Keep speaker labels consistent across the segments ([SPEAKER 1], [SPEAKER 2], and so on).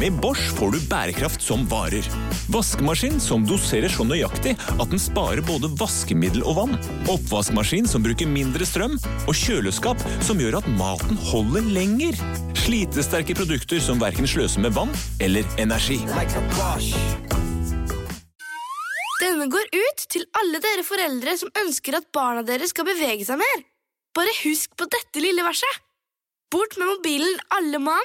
[SPEAKER 1] Med Bosch får du bærekraft som varer. Vaskemaskin som doserer så nøyaktig at den sparer både vaskemiddel og vann. Oppvaskmaskin som bruker mindre strøm. Og kjøleskap som gjør at maten holder lenger. Slitesterke produkter som verken sløser med vann eller energi.
[SPEAKER 2] Denne går ut til alle dere foreldre som ønsker at barna deres skal bevege seg mer. Bare husk på dette lille verset. Bort med mobilen alle mann,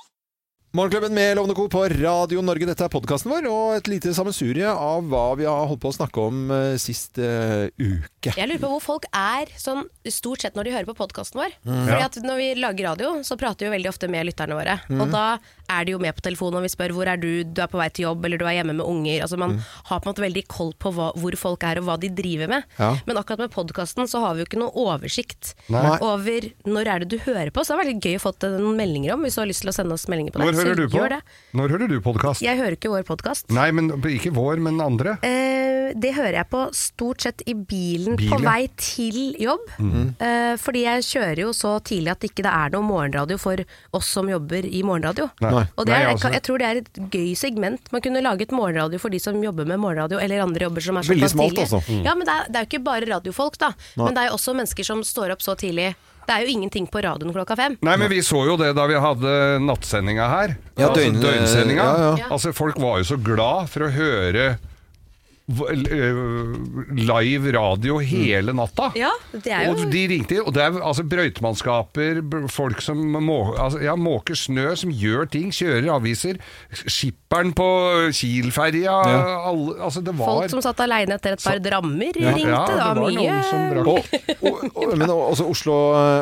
[SPEAKER 3] Morgenklubben med Lovende Co. på Radio Norge. Dette er podkasten vår, og et lite sammensurie av hva vi har holdt på å snakke om eh, sist eh, uke.
[SPEAKER 4] Jeg lurer på hvor folk er sånn stort sett når de hører på podkasten vår.
[SPEAKER 5] Mm.
[SPEAKER 4] Fordi at når vi lager radio, så prater vi jo veldig ofte med lytterne våre.
[SPEAKER 5] Mm.
[SPEAKER 4] Og da er de jo med på telefonen og vi spør hvor er du, du er på vei til jobb eller du er hjemme med unger. Altså
[SPEAKER 5] Mm.
[SPEAKER 4] Man har på en måte veldig koll på hva, hvor folk er og hva de driver med.
[SPEAKER 3] Ja.
[SPEAKER 4] Men akkurat med podkasten så har vi jo ikke noe oversikt
[SPEAKER 3] Nei.
[SPEAKER 4] over når er det du hører på. Så det er veldig gøy å få til noen meldinger om hvis du har lyst til å sende oss meldinger på det.
[SPEAKER 5] Når hører
[SPEAKER 4] så
[SPEAKER 5] du på?
[SPEAKER 4] gjør det.
[SPEAKER 5] Når hører du podkast?
[SPEAKER 4] Jeg hører ikke vår podkast.
[SPEAKER 5] Nei, men ikke vår, men andre.
[SPEAKER 4] Eh, det hører jeg på stort sett i bilen, på
[SPEAKER 5] Bilen, ja. Mm.
[SPEAKER 4] vei til jobb. Eh, fordi jeg kjører jo så tidlig at det ikke er noe morgenradio for oss som jobber i morgenradio.
[SPEAKER 5] Nei.
[SPEAKER 4] Og det
[SPEAKER 5] Nei, altså-
[SPEAKER 4] er,
[SPEAKER 5] jeg
[SPEAKER 4] jeg, kan-
[SPEAKER 5] også.
[SPEAKER 4] jeg tror det er et gøy segment. Man kunne laget morgenradio for de som jobber med morgenradio, eller andre jobber som er
[SPEAKER 3] Veldig
[SPEAKER 4] såpass
[SPEAKER 3] smalt,
[SPEAKER 4] tidlig.
[SPEAKER 3] altså. Mm.
[SPEAKER 4] Ja, men det er, det er jo ikke bare radiofolk, da. Men det er jo også mennesker som står opp så tidlig. Det er jo ingenting på radioen klokka fem.
[SPEAKER 5] Nei, men vi så jo det da vi hadde nattsendinga her.
[SPEAKER 3] Ja,
[SPEAKER 5] altså,
[SPEAKER 3] døgn-
[SPEAKER 5] døgnsendinga.
[SPEAKER 3] ja,
[SPEAKER 4] ja.
[SPEAKER 5] Altså, folk var jo så glad for å høre v- l- øh, live radio
[SPEAKER 3] Mm.
[SPEAKER 5] hele natta.
[SPEAKER 4] Ja, det er jo
[SPEAKER 5] Og de ringte, og det er altså brøytemannskaper, b- folk som må, altså, ja, måker snø, som gjør ting, kjører aviser, skipperen på Kielferja alle, altså, det var,
[SPEAKER 4] folk som satt aleine etter et par drammer, ringte.
[SPEAKER 5] ja,
[SPEAKER 4] det var
[SPEAKER 5] noen som
[SPEAKER 4] mye
[SPEAKER 5] brakk.
[SPEAKER 3] Og, og, og, men også Oslo,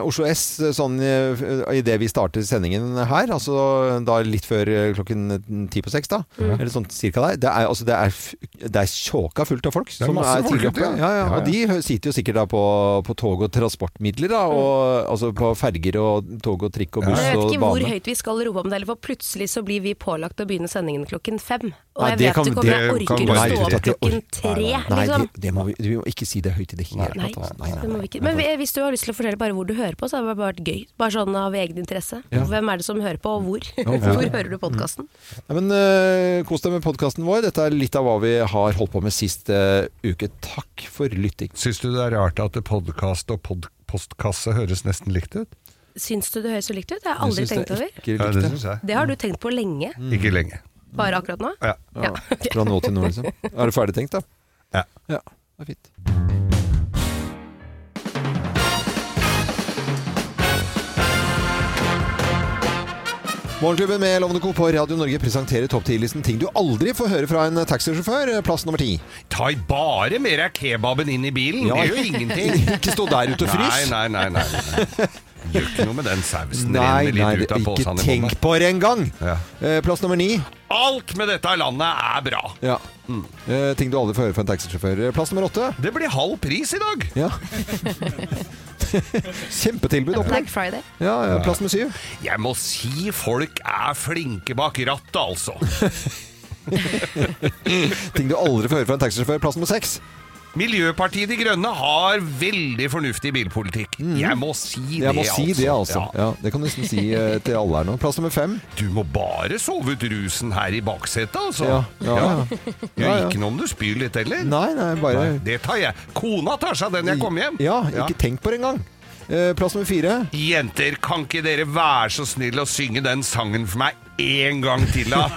[SPEAKER 3] Oslo S, sånn idet vi starter sendingen her, altså da litt før klokken eh, ti på seks, da,
[SPEAKER 4] Mm.
[SPEAKER 3] eller sånn cirka der, det er, altså, det er, f- det er tjåka fullt av folk
[SPEAKER 5] er
[SPEAKER 3] som
[SPEAKER 5] masse
[SPEAKER 3] er tidlig
[SPEAKER 5] folk,
[SPEAKER 3] oppe.
[SPEAKER 5] ja.
[SPEAKER 3] Ja, ja,
[SPEAKER 5] Ja,
[SPEAKER 3] Og de hø- sitter jo sikkert da på, på tog og transportmidler, da, og, altså på ferger og tog og trikk og buss
[SPEAKER 4] Mm. Jeg vet
[SPEAKER 3] og
[SPEAKER 4] ikke hvor
[SPEAKER 3] bane.
[SPEAKER 4] høyt vi skal rope om det, eller for plutselig så blir vi pålagt å begynne sendingen klokken fem. Og
[SPEAKER 3] Nei,
[SPEAKER 4] jeg
[SPEAKER 3] det
[SPEAKER 4] vet
[SPEAKER 3] kan-
[SPEAKER 4] ikke om jeg
[SPEAKER 5] det kan
[SPEAKER 4] orker å
[SPEAKER 5] være
[SPEAKER 4] stå
[SPEAKER 5] riktig.
[SPEAKER 4] opp klokken tre,
[SPEAKER 3] Nei,
[SPEAKER 4] liksom.
[SPEAKER 3] det, det må vi, vi må ikke si det høyt i det hele
[SPEAKER 4] Nei,
[SPEAKER 3] tatt.
[SPEAKER 4] det må vi ikke. Men hvis du har lyst til å fortelle bare hvor du hører på, så hadde det bare vært gøy. Bare sånn av egen interesse. Hvem er det som hører på, og hvor? Hvor hører du podkasten?
[SPEAKER 3] Ja, men øh, Kos deg med podkasten vår. Dette er litt av hva vi har holdt på med sist øh, uke. Takk for lytting.
[SPEAKER 5] Syns du det er rart at podkast og pod postkasse høres nesten likt ut?
[SPEAKER 4] Syns du det høres så likt ut? Det har jeg aldri
[SPEAKER 3] Jeg synes
[SPEAKER 4] tenkt
[SPEAKER 3] det er
[SPEAKER 4] over.
[SPEAKER 3] Ikke
[SPEAKER 5] Ja, det
[SPEAKER 3] likt
[SPEAKER 5] syns
[SPEAKER 3] det. Mm.
[SPEAKER 5] jeg.
[SPEAKER 4] Det har du tenkt på lenge,
[SPEAKER 5] Ikke lenge.
[SPEAKER 4] bare akkurat nå?
[SPEAKER 5] Ja.
[SPEAKER 4] Ja.
[SPEAKER 3] Fra nå til nå, liksom. Er du ferdig tenkt, da?
[SPEAKER 5] Ja.
[SPEAKER 3] ja. Det er fint. Morgenklubben med Lovende Co. på Radio Norge presenterer topp 10-listen ting du aldri får høre fra en taxisjåfør. eh, Plass nummer ti.
[SPEAKER 5] Ta bare mer av kebaben inn i bilen,
[SPEAKER 3] Ja.
[SPEAKER 5] det gjør jo ingenting.
[SPEAKER 3] Ikke stå der ute og
[SPEAKER 5] Nei,
[SPEAKER 3] frys.
[SPEAKER 5] nei, nei. nei, nei. Gjør ikke noe med den sausen.
[SPEAKER 3] Nei,
[SPEAKER 5] renner litt
[SPEAKER 3] nei,
[SPEAKER 5] ut av
[SPEAKER 3] ikke
[SPEAKER 5] påsene i
[SPEAKER 3] tenk
[SPEAKER 5] båndet.
[SPEAKER 3] på det engang!
[SPEAKER 5] Ja.
[SPEAKER 3] Eh, Plass nummer ni.
[SPEAKER 5] Alt med dette landet er bra.
[SPEAKER 3] Ja.
[SPEAKER 5] Mm.
[SPEAKER 3] Eh, ting du aldri får høre fra en taxisjåfør. Eh, Plass nummer åtte.
[SPEAKER 5] Det blir halv pris i dag.
[SPEAKER 3] Ja. Kjempetilbud. opplegg.
[SPEAKER 4] Black Friday.
[SPEAKER 3] Ja, ja, plass nummer syv.
[SPEAKER 5] Jeg må si folk er flinke bak rattet, altså.
[SPEAKER 3] Ting du aldri får høre fra en taxisjåfør. Plass nummer seks.
[SPEAKER 5] Miljøpartiet De Grønne har veldig fornuftig bilpolitikk. Jeg må si
[SPEAKER 3] Mm.
[SPEAKER 5] det,
[SPEAKER 3] Jeg må si det, altså.
[SPEAKER 5] Ja.
[SPEAKER 3] Ja, det kan du nesten si eh, til alle her nå. Plass nummer fem.
[SPEAKER 5] Du må bare sove ut rusen her i baksetet, altså.
[SPEAKER 3] Ja, ja, ja.
[SPEAKER 5] Gjør
[SPEAKER 3] Ja, ja.
[SPEAKER 5] ikke noe om du spyr litt heller.
[SPEAKER 3] Nei, nei, bare
[SPEAKER 5] Nei, Det tar jeg. Kona tar seg av den jeg kommer hjem.
[SPEAKER 3] Ja, ikke tenk på det engang. Eh, Plass nummer fire.
[SPEAKER 5] Jenter, kan ikke dere være så snill å synge den sangen for meg en gang til, da?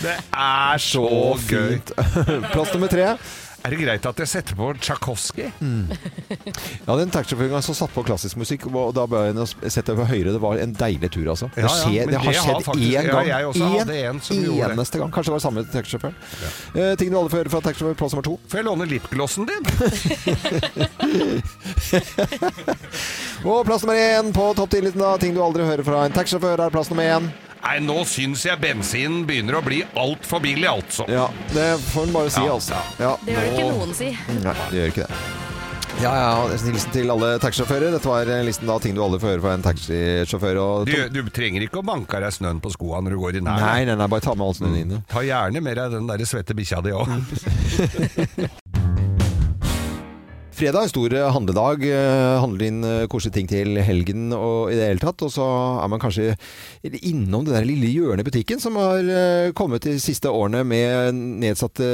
[SPEAKER 5] det er så
[SPEAKER 3] Å,
[SPEAKER 5] gøy.
[SPEAKER 3] fint. Plass nummer tre.
[SPEAKER 5] Er det greit at jeg setter på Tsjajkovskij?
[SPEAKER 3] Mm. Jeg hadde en taxisjåfør en gang som satt på klassisk musikk, og da ble jeg sett over høyere. Det var en deilig tur, altså. Det,
[SPEAKER 5] Ja, ja,
[SPEAKER 3] skjer,
[SPEAKER 5] men
[SPEAKER 3] det har
[SPEAKER 5] det har
[SPEAKER 3] skjedd
[SPEAKER 5] faktisk-
[SPEAKER 3] én
[SPEAKER 5] ja,
[SPEAKER 3] gang.
[SPEAKER 5] jeg også hadde en som gjorde det.
[SPEAKER 3] eneste gang. Kanskje det var samme taxisjåføren. Eh, ting du aldri får høre fra taxisjåfør. Plass nummer to.
[SPEAKER 5] Får jeg låne lipglossen din?
[SPEAKER 3] Og plass nummer én på topp 10-listen av ting du aldri hører fra en taxisjåfør, er plass nummer én.
[SPEAKER 5] Nei, nå syns jeg bensinen begynner å bli altfor billig, altså.
[SPEAKER 3] Ja, det får en bare si,
[SPEAKER 5] Ja,
[SPEAKER 3] altså. Ja.
[SPEAKER 4] Det gjør det ikke noen si.
[SPEAKER 3] Nei, det gjør ikke det. Ja, ja, Hilsen til alle taxisjåfører. Dette var eh, listen av ting du aldri får høre fra en taxisjåfør. Og
[SPEAKER 5] Du, du trenger ikke å banke av deg snøen på skoene når du går i
[SPEAKER 3] Nei,
[SPEAKER 5] nærheten.
[SPEAKER 3] nei, nei, bare ta med all snøen din. ja.
[SPEAKER 5] Ta gjerne med deg den der svette bikkja di òg.
[SPEAKER 3] Mm. Fredag er en stor eh, handledag. eh, Handler inn eh, koselige ting til helgen og i det hele tatt. Og så er man kanskje innom det der lille hjørnet i butikken som har eh, kommet de siste årene med nedsatte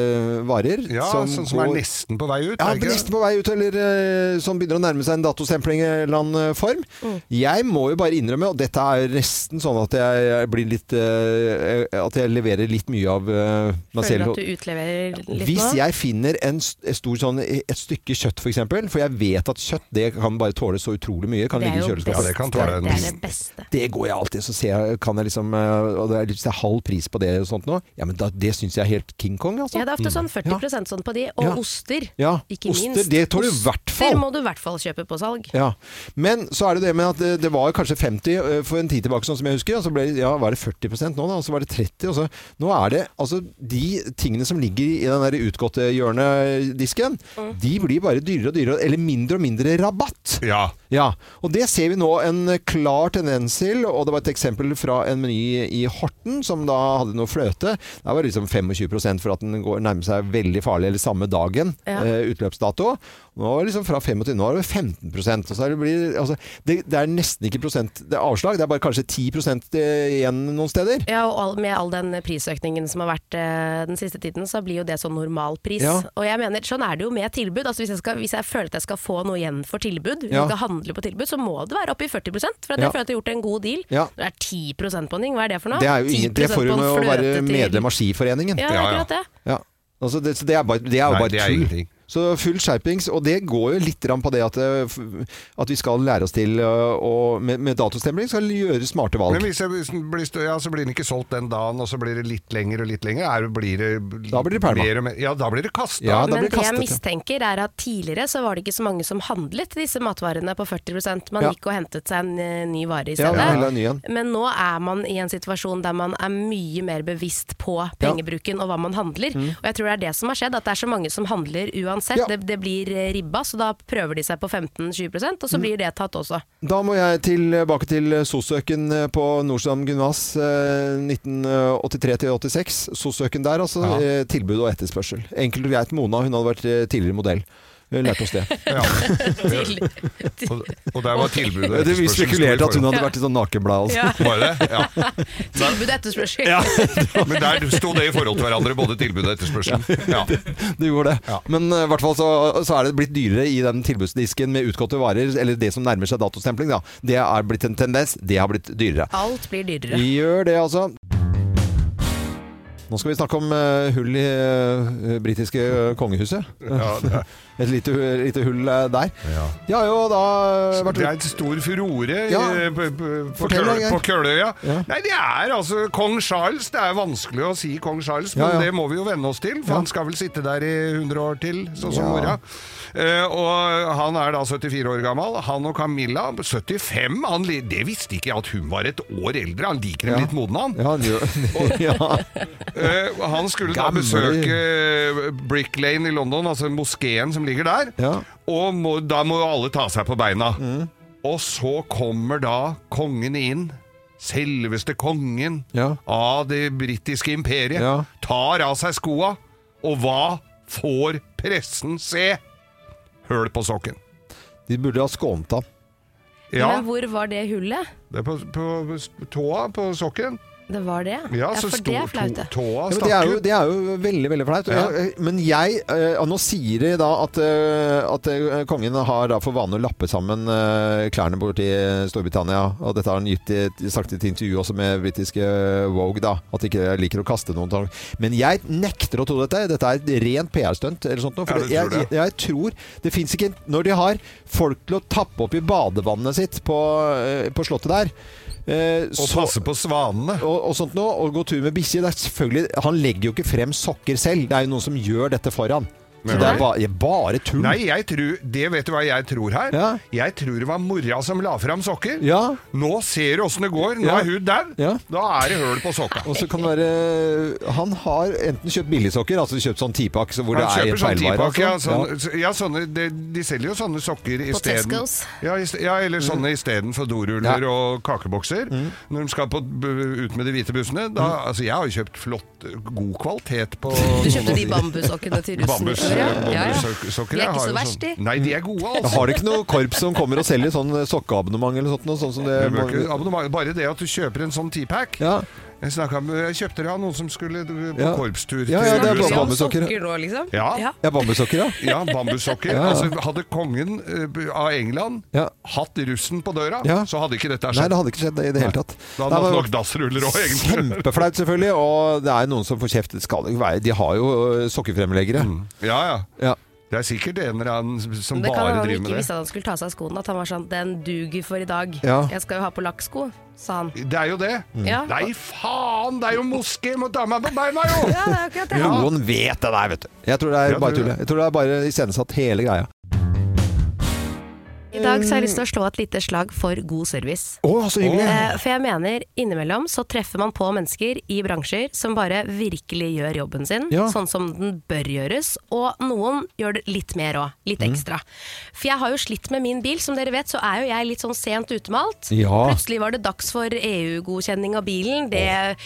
[SPEAKER 3] varer.
[SPEAKER 5] Ja, sånn som, er
[SPEAKER 3] går-
[SPEAKER 5] nesten på vei ut.
[SPEAKER 3] Ja,
[SPEAKER 5] er det ikke det?
[SPEAKER 3] nesten på vei ut, eller eh, som begynner å nærme seg en datostempling i en eller annen eh, form.
[SPEAKER 4] Mm.
[SPEAKER 3] Jeg må jo bare innrømme, og dette er nesten sånn at jeg blir litt eh, At jeg leverer litt mye av eh, meg
[SPEAKER 4] Føler
[SPEAKER 3] selv.
[SPEAKER 4] du at du utleverer litt
[SPEAKER 3] Hvis
[SPEAKER 4] nå?
[SPEAKER 3] jeg finner en s- en stor sånn, et stykke kjøtt, for eksempel, for jeg vet at kjøtt det kan bare tåle så utrolig mye, kan
[SPEAKER 4] Det er
[SPEAKER 3] ligge i
[SPEAKER 4] jo
[SPEAKER 5] Ja,
[SPEAKER 3] kjøleskapet.
[SPEAKER 5] det kan
[SPEAKER 4] best.
[SPEAKER 5] tåle en
[SPEAKER 4] Det er
[SPEAKER 5] viss-
[SPEAKER 4] det beste.
[SPEAKER 3] Det går jeg alltid, så ser jeg, kan jeg liksom eh, Og det er, hvis det er halv pris på det og sånt nå, ja, men da, det syns jeg er helt King Kong, altså.
[SPEAKER 4] Ja, det er ofte sånn 40 sånn på de, og
[SPEAKER 3] Ja.
[SPEAKER 4] oster.
[SPEAKER 3] Ja,
[SPEAKER 4] Ikke
[SPEAKER 3] oster,
[SPEAKER 4] minst.
[SPEAKER 3] det tåler du i hvert fall.
[SPEAKER 4] Oster må du i hvert fall kjøpe på salg.
[SPEAKER 3] Ja. Men så er det det med at eh, det, det var kanskje 50 eh, for en tid tilbake, sånn som jeg husker. Og så ble, ja, var det 40 nå, da, og så var det 30 og så, Nå er det altså De tingene som ligger i den der utgåtte hjørnedisken, de blir bare dyrere og dyrere, eller mindre og mindre rabatt.
[SPEAKER 5] Ja.
[SPEAKER 3] Ja, og det ser vi nå en klar tendens til, og det var et eksempel fra en meny i Horten som da hadde noe fløte. Der var det liksom 25 for at den går nærmer seg veldig farlig, eller samme dagen,
[SPEAKER 4] Ja.
[SPEAKER 3] eh, utløpsdato. Nå er det liksom fra 25, nå er det 15 og så er det, blir, altså, det, det er nesten ikke prosent, det er avslag, det er bare kanskje 10 igjen noen steder.
[SPEAKER 4] Ja, og all, med all den prisøkningen som har vært eh, den siste tiden, så blir jo det sånn normalpris.
[SPEAKER 3] Ja.
[SPEAKER 4] Og jeg mener, sånn er det jo med tilbud. Altså hvis jeg, skal, hvis jeg føler at jeg skal få noe igjen for tilbud, hvis
[SPEAKER 3] Ja.
[SPEAKER 4] jeg skal handle på tilbud, så må det være oppe i 40 for at
[SPEAKER 3] Ja.
[SPEAKER 4] jeg føler at jeg har gjort en god deal.
[SPEAKER 3] Ja.
[SPEAKER 4] Når Det er 10 på en ting, hva er det for noe?
[SPEAKER 3] Det, er jo ingen, det
[SPEAKER 4] 10%
[SPEAKER 3] får
[SPEAKER 4] på
[SPEAKER 3] hun
[SPEAKER 4] en
[SPEAKER 3] med å være
[SPEAKER 4] fløte til-
[SPEAKER 3] medlem av Skiforeningen.
[SPEAKER 4] Ja, det er
[SPEAKER 5] Ja, ja.
[SPEAKER 4] akkurat det.
[SPEAKER 3] Ja. Altså det, så det er, bare, det er jo
[SPEAKER 5] Nei,
[SPEAKER 3] bare
[SPEAKER 5] det er
[SPEAKER 3] tull.
[SPEAKER 5] ingenting.
[SPEAKER 3] Så full skjerpings, og det går jo litt grann på det at, eh, f- at vi skal lære oss til eh, å med, med datostempling skal gjøre smarte valg.
[SPEAKER 5] Men hvis, jeg, hvis den blir stø, ja, så blir den ikke solgt den dagen, og så blir det litt lenger og litt lenger. Er, det- blir det,
[SPEAKER 3] Da blir det pælma.
[SPEAKER 5] mer og mer- Ja, da blir det kasta.
[SPEAKER 3] Ja, da
[SPEAKER 4] Men det
[SPEAKER 3] blir det kastet.
[SPEAKER 4] jeg mistenker er at tidligere så var det ikke så mange som handlet disse matvarene på 40 Man
[SPEAKER 3] Ja.
[SPEAKER 4] gikk og hentet seg en eh, ny vare i
[SPEAKER 3] Ja,
[SPEAKER 4] stedet.
[SPEAKER 3] eller en ny en.
[SPEAKER 4] Men nå er man i en situasjon der man er mye mer bevisst på pengebruken og hva man handler. Og jeg tror det er det som har skjedd, at det er så mange som handler uansett.
[SPEAKER 3] Mm. Ja.
[SPEAKER 4] Det, det blir eh, ribba, så da prøver de seg på 15-20 og
[SPEAKER 3] Mm.
[SPEAKER 4] så blir det tatt også.
[SPEAKER 3] Da må jeg tilbake til Sosøken eh, på Nordstrand Gymnas eh, 1983-86. Sosøken der, altså.
[SPEAKER 5] Ja.
[SPEAKER 3] eh, Tilbud og etterspørsel. Enkelt og greit. Mona hun hadde vært eh, tidligere modell. Hun lærte oss det.
[SPEAKER 5] Ja.
[SPEAKER 4] Til,
[SPEAKER 5] Og, og der var tilbudet og
[SPEAKER 3] Vi
[SPEAKER 5] etterspørselen
[SPEAKER 3] spekulerte at
[SPEAKER 5] stor
[SPEAKER 3] hun
[SPEAKER 5] forhold.
[SPEAKER 3] hadde vært i sånn nakenblad. Altså.
[SPEAKER 4] ja,
[SPEAKER 5] Var det? Ja.
[SPEAKER 4] tilbud og etterspørsel.
[SPEAKER 5] Men der sto det i forhold til hverandre, både tilbud og etterspørsel. Ja.
[SPEAKER 3] Det gjorde det.
[SPEAKER 5] Ja.
[SPEAKER 3] Men eh, i hvert fall så, så er det blitt dyrere i den tilbudsdisken med utgåtte varer, eller det som nærmer seg datostempling, da. Det er blitt en tendens. Det har blitt dyrere.
[SPEAKER 4] Alt blir dyrere.
[SPEAKER 3] Vi gjør det, altså. Nå skal vi snakke om eh, hull i eh, britiske eh, kongehuset.
[SPEAKER 5] Ja, det er-
[SPEAKER 3] Et lite, hu- lite hull eh, der.
[SPEAKER 5] ja.
[SPEAKER 3] Jeg har jo da eh, vært
[SPEAKER 5] Det er et stor furore i-
[SPEAKER 3] Ja.
[SPEAKER 5] på, på- på,
[SPEAKER 3] Fortell,
[SPEAKER 5] Køl-
[SPEAKER 3] Geir.
[SPEAKER 5] på Køløya.
[SPEAKER 3] Ja.
[SPEAKER 5] Nei, det er altså kong Charles. Det er vanskelig å si kong Charles, men
[SPEAKER 3] Ja, ja.
[SPEAKER 5] det må vi jo venne oss til. For
[SPEAKER 3] Ja.
[SPEAKER 5] han skal vel sitte der i 100 år til, sånn som
[SPEAKER 3] Ja.
[SPEAKER 5] mora. Eh, og han er da 74 år gammel. Han og Camilla, 75 han, li- Det visste ikke jeg at hun var et år eldre. Han liker henne
[SPEAKER 3] Ja.
[SPEAKER 5] litt moden, han.
[SPEAKER 3] Ja, han gjør- ja.
[SPEAKER 5] Eh, han skulle da
[SPEAKER 3] Gamle.
[SPEAKER 5] besøke eh, Brick Lane i London, altså moskeen som ligger der.
[SPEAKER 3] Ja.
[SPEAKER 5] Og må, da må jo alle ta seg på beina. Og så kommer da kongen inn. Selveste kongen
[SPEAKER 3] Ja.
[SPEAKER 5] av det britiske imperiet.
[SPEAKER 3] Ja.
[SPEAKER 5] Tar av seg skoa. Og hva får pressen se? Høl på sokken.
[SPEAKER 3] De burde ha skånt ham.
[SPEAKER 5] Ja,
[SPEAKER 4] Men hvor var det hullet?
[SPEAKER 5] det er på, på tåa på sokken.
[SPEAKER 4] Det var det,
[SPEAKER 5] Ja, så
[SPEAKER 4] for det er
[SPEAKER 5] stor-
[SPEAKER 4] flaut,
[SPEAKER 5] to-
[SPEAKER 4] det.
[SPEAKER 5] tåa
[SPEAKER 3] Ja, men
[SPEAKER 5] stakk
[SPEAKER 3] det, er jo,
[SPEAKER 5] ut.
[SPEAKER 3] det er jo veldig, veldig flaut.
[SPEAKER 5] Ja.
[SPEAKER 3] Jeg- Men jeg eh, og Nå sier de da at, eh, at eh, kongen har da for vane å lappe sammen eh, klærne borti Storbritannia. Og dette har han gitt i, et- sagt i et intervju også med britiske eh, Vogue, da. At de ikke liker å kaste noen ting. Men jeg nekter å tro dette. Dette er et rent PR-stunt eller sånt noe. For
[SPEAKER 5] Ja, det tror
[SPEAKER 3] jeg, jeg,
[SPEAKER 5] jeg.
[SPEAKER 3] tror Det fins ikke Når de har folk til å tappe opp i badevannet sitt på, eh, på slottet der eh,
[SPEAKER 5] Og passe på svanene.
[SPEAKER 3] og, og sånt noe, og gå tur med bikkje. det er selvfølgelig- Han legger jo ikke frem sokker selv. Det er jo noen som gjør dette for han. Så det er ba ja, bare tull.
[SPEAKER 5] Nei, jeg tror, det vet du hva jeg tror her?
[SPEAKER 3] Mm. Ja.
[SPEAKER 5] Jeg tror det var mora som la fram sokker.
[SPEAKER 3] Ja.
[SPEAKER 5] Nå ser du åssen det går. Nå
[SPEAKER 3] Ja.
[SPEAKER 5] er hun dau.
[SPEAKER 3] Ja.
[SPEAKER 5] Da er det høl på sokka.
[SPEAKER 3] Og så kan det være Han har enten kjøpt billigsokker, altså kjøpt sånn tipakk så hvor det
[SPEAKER 5] Han
[SPEAKER 3] er
[SPEAKER 5] kjøper
[SPEAKER 3] en
[SPEAKER 5] sånn
[SPEAKER 3] feilvare.
[SPEAKER 5] tipakke. Ja,
[SPEAKER 3] altså.
[SPEAKER 5] sånn, ja. sånne, de, de selger jo sånne sokker
[SPEAKER 4] På
[SPEAKER 5] isteden.
[SPEAKER 4] Tesco's.
[SPEAKER 5] Ja, ist- ja, eller sånne istedenfor doruller
[SPEAKER 3] Mm. Ja. Mm.
[SPEAKER 5] og kakebokser. Når de skal på, b- ut med de hvite bussene. Da, altså, jeg har jo kjøpt flott, god kvalitet på
[SPEAKER 4] Du kjøpte de bambussokkene til russen?
[SPEAKER 5] Bambus,
[SPEAKER 4] Ja, ja, ja.
[SPEAKER 5] bambussokker.
[SPEAKER 4] De
[SPEAKER 5] jeg
[SPEAKER 4] er ikke så
[SPEAKER 5] har jo
[SPEAKER 4] verst, de.
[SPEAKER 5] sånn- Nei, de er gode,
[SPEAKER 3] Ja.
[SPEAKER 5] altså.
[SPEAKER 3] Har du ikke noe korps som kommer og selger sånn sokkeabonnement eller sånt, noe sånt? som det
[SPEAKER 5] Du bør ikke- abonnement- Bare det at du kjøper en sånn teapack
[SPEAKER 3] Eh, Ja.
[SPEAKER 5] Jeg, snakket med, jeg kjøpte det av noen som skulle d- på
[SPEAKER 3] Ja.
[SPEAKER 5] korpstur
[SPEAKER 3] Ja, ja, det er
[SPEAKER 5] USA.
[SPEAKER 4] Snakker vi om
[SPEAKER 3] bambussokker.
[SPEAKER 4] sokker nå, liksom?
[SPEAKER 5] Ja.
[SPEAKER 3] Ja, bambusokker, ja.
[SPEAKER 5] Ja, bambussokker. Altså, hadde kongen eh, b- av England
[SPEAKER 3] Ja.
[SPEAKER 5] hatt russen på døra,
[SPEAKER 3] Ja.
[SPEAKER 5] så hadde ikke dette
[SPEAKER 3] Nei,
[SPEAKER 5] skjedd.
[SPEAKER 3] det hadde ikke skjedd i det hele tatt.
[SPEAKER 5] Da
[SPEAKER 3] Nei,
[SPEAKER 5] hadde
[SPEAKER 3] men-
[SPEAKER 5] nok dassruller òg, egentlig.
[SPEAKER 3] Kjempeflaut, selvfølgelig. Og det er jo noen som får kjeft. Det skal det ikke være. De har jo øh, sokkefremleggere.
[SPEAKER 5] Ja, ja.
[SPEAKER 3] Ja.
[SPEAKER 5] Det er sikkert en eller annen som
[SPEAKER 4] Det kan
[SPEAKER 5] bare
[SPEAKER 4] være han
[SPEAKER 5] driver
[SPEAKER 4] ikke
[SPEAKER 5] med
[SPEAKER 4] visste
[SPEAKER 5] det.
[SPEAKER 4] at han skulle ta seg av skoene. At han var sånn 'Den duger for i dag.
[SPEAKER 3] Ja.
[SPEAKER 4] Jeg skal jo ha på lakksko', sa han.
[SPEAKER 5] Det er jo det.
[SPEAKER 4] Ja.
[SPEAKER 5] Nei, faen! Det er jo moské! Må ta meg på beina, jo!
[SPEAKER 4] Ja, det er akkurat det.
[SPEAKER 3] Noen vet det der, vet du. Jeg tror det er
[SPEAKER 5] Ja,
[SPEAKER 3] bare
[SPEAKER 5] tror
[SPEAKER 3] tull.
[SPEAKER 5] det.
[SPEAKER 3] Jeg tror det er bare iscenesatt hele greia.
[SPEAKER 4] I dag så har jeg lyst til å slå et lite slag for god service.
[SPEAKER 3] Å, så hyggelig!
[SPEAKER 4] Eh, For jeg mener innimellom så treffer man på mennesker i bransjer som bare virkelig gjør jobben sin,
[SPEAKER 3] Ja.
[SPEAKER 4] sånn som den bør gjøres, og noen gjør det litt mer òg, litt
[SPEAKER 5] Mm.
[SPEAKER 4] ekstra. For jeg har jo slitt med min bil, som dere vet så er jo jeg litt sånn sent ute med alt.
[SPEAKER 3] Ja.
[SPEAKER 4] Plutselig var det dags for EU-godkjenning av bilen, det,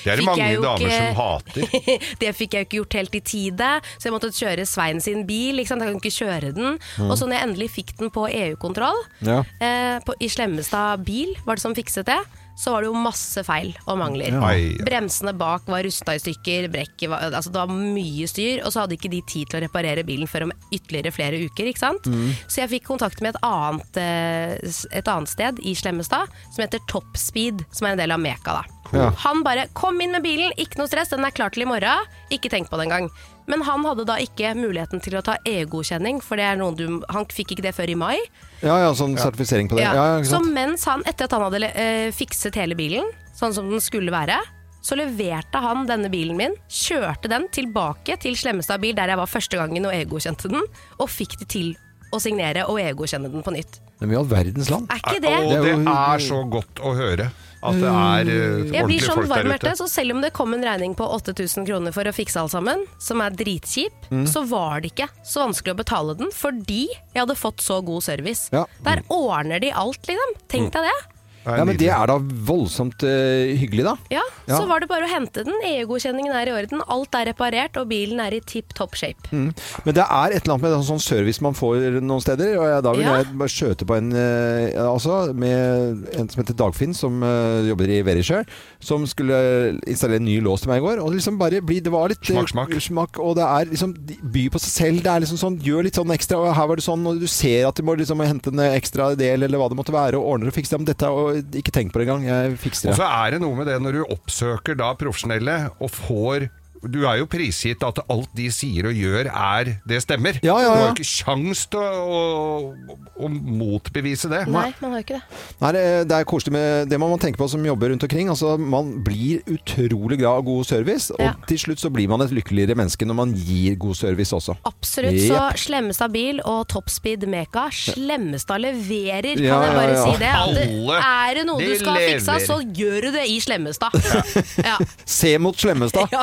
[SPEAKER 5] Det er det
[SPEAKER 4] fikk
[SPEAKER 5] mange
[SPEAKER 4] jeg jo
[SPEAKER 5] damer
[SPEAKER 4] ikke
[SPEAKER 5] som hater.
[SPEAKER 4] det fikk jeg jo ikke gjort helt i tide, så jeg måtte kjøre Svein sin bil. Ikke sant? Jeg kan ikke kjøre den. Og så når jeg endelig fikk den på E EU-kontroll,
[SPEAKER 3] Ja.
[SPEAKER 4] eh, på, i Slemmestad bil var det som fikset det, så var det jo masse feil og mangler.
[SPEAKER 5] Ai, ja.
[SPEAKER 4] Bremsene bak var rusta i stykker, brekket var altså Det var mye styr, og så hadde ikke de tid til å reparere bilen før om ytterligere flere uker, ikke sant. Så jeg fikk kontakt med et annet, eh, s- et annet sted i Slemmestad som heter Top Speed, som er en del av Meka, da.
[SPEAKER 3] Ja.
[SPEAKER 4] Han bare 'kom inn med bilen, ikke noe stress, den er klar til i morgen'. Ikke tenk på det engang. Men han hadde da ikke muligheten til å ta EU-godkjenning, for det er noen du, han fikk ikke det før i mai.
[SPEAKER 3] Ja, ja, sånn sertifisering på det.
[SPEAKER 4] Ja.
[SPEAKER 3] Ja, ja, ikke
[SPEAKER 4] så
[SPEAKER 3] sant?
[SPEAKER 4] mens han, etter at han hadde eh, fikset hele bilen sånn som den skulle være, så leverte han denne bilen min, kjørte den tilbake til Slemmestad bil, der jeg var første gangen og EU-godkjente den, og fikk det til å signere og EU-godkjenne den på nytt.
[SPEAKER 3] Men i all verdens land.
[SPEAKER 4] Er ikke det?
[SPEAKER 5] Og det er så godt å høre at det er eh,
[SPEAKER 4] Jeg blir
[SPEAKER 5] ordentlige
[SPEAKER 4] sånn varm
[SPEAKER 5] folk der
[SPEAKER 4] i
[SPEAKER 5] ute.
[SPEAKER 4] hjertet, så selv om det kom en regning på 8000 kroner for å fikse alt sammen, som er dritkjip,
[SPEAKER 3] Mm.
[SPEAKER 4] så var det ikke så vanskelig å betale den, fordi jeg hadde fått så god service.
[SPEAKER 3] Ja. Mm.
[SPEAKER 4] Der ordner de alt, liksom. Tenk deg det.
[SPEAKER 5] Det er
[SPEAKER 3] Ja, men det
[SPEAKER 5] nydelig.
[SPEAKER 3] er da voldsomt eh, hyggelig, da.
[SPEAKER 4] Ja,
[SPEAKER 3] Ja.
[SPEAKER 4] Så var det bare å hente den. EU-godkjenningen er i orden, alt er reparert, og bilen er i tipp topp shape.
[SPEAKER 3] Mm. Men det er et eller annet med en sånn service man får noen steder. Og jeg, da vil
[SPEAKER 4] Ja.
[SPEAKER 3] jeg bare skjøte på en eh, altså, med en som heter Dagfinn, som eh, jobber i Verisher, som skulle installere en ny lås til meg i går. Og liksom bare bli, det var litt eh,
[SPEAKER 5] Smak, smak.
[SPEAKER 3] smak, Og det er liksom de- by på seg selv. Det er liksom sånn, gjør litt sånn ekstra. Og her var det sånn, og du ser at de må liksom hente en ekstra del, eller hva det måtte være, og ordner og fikser det. Men dette, og ikke tenk på det engang. Jeg fikser
[SPEAKER 5] Og
[SPEAKER 3] det.
[SPEAKER 5] så er det noe med det når du oppsøker da profesjonelle og får du er jo prisgitt at alt de sier og gjør, er det stemmer.
[SPEAKER 3] Ja, ja, ja.
[SPEAKER 5] Du har jo ikke sjans til å, å, å motbevise det.
[SPEAKER 4] Nei, man har jo ikke det.
[SPEAKER 3] Nei, det, det er koselig med Det må man tenke på som jobber rundt omkring. Altså, man blir utrolig glad av god service, og
[SPEAKER 4] Ja.
[SPEAKER 3] til slutt så blir man et lykkeligere menneske når man gir god service også.
[SPEAKER 4] Absolutt. Så Slemmestad bil og Toppspeed Meka, Slemmestad leverer, kan
[SPEAKER 3] Ja,
[SPEAKER 4] jeg
[SPEAKER 3] ja,
[SPEAKER 4] bare
[SPEAKER 3] ja.
[SPEAKER 4] si det. At det
[SPEAKER 5] Alle,
[SPEAKER 4] er det noe
[SPEAKER 5] de
[SPEAKER 4] du skal ha fiksa,
[SPEAKER 5] lever.
[SPEAKER 4] så gjør du det i Slemmestad. Ja.
[SPEAKER 3] Se mot Slemmestad!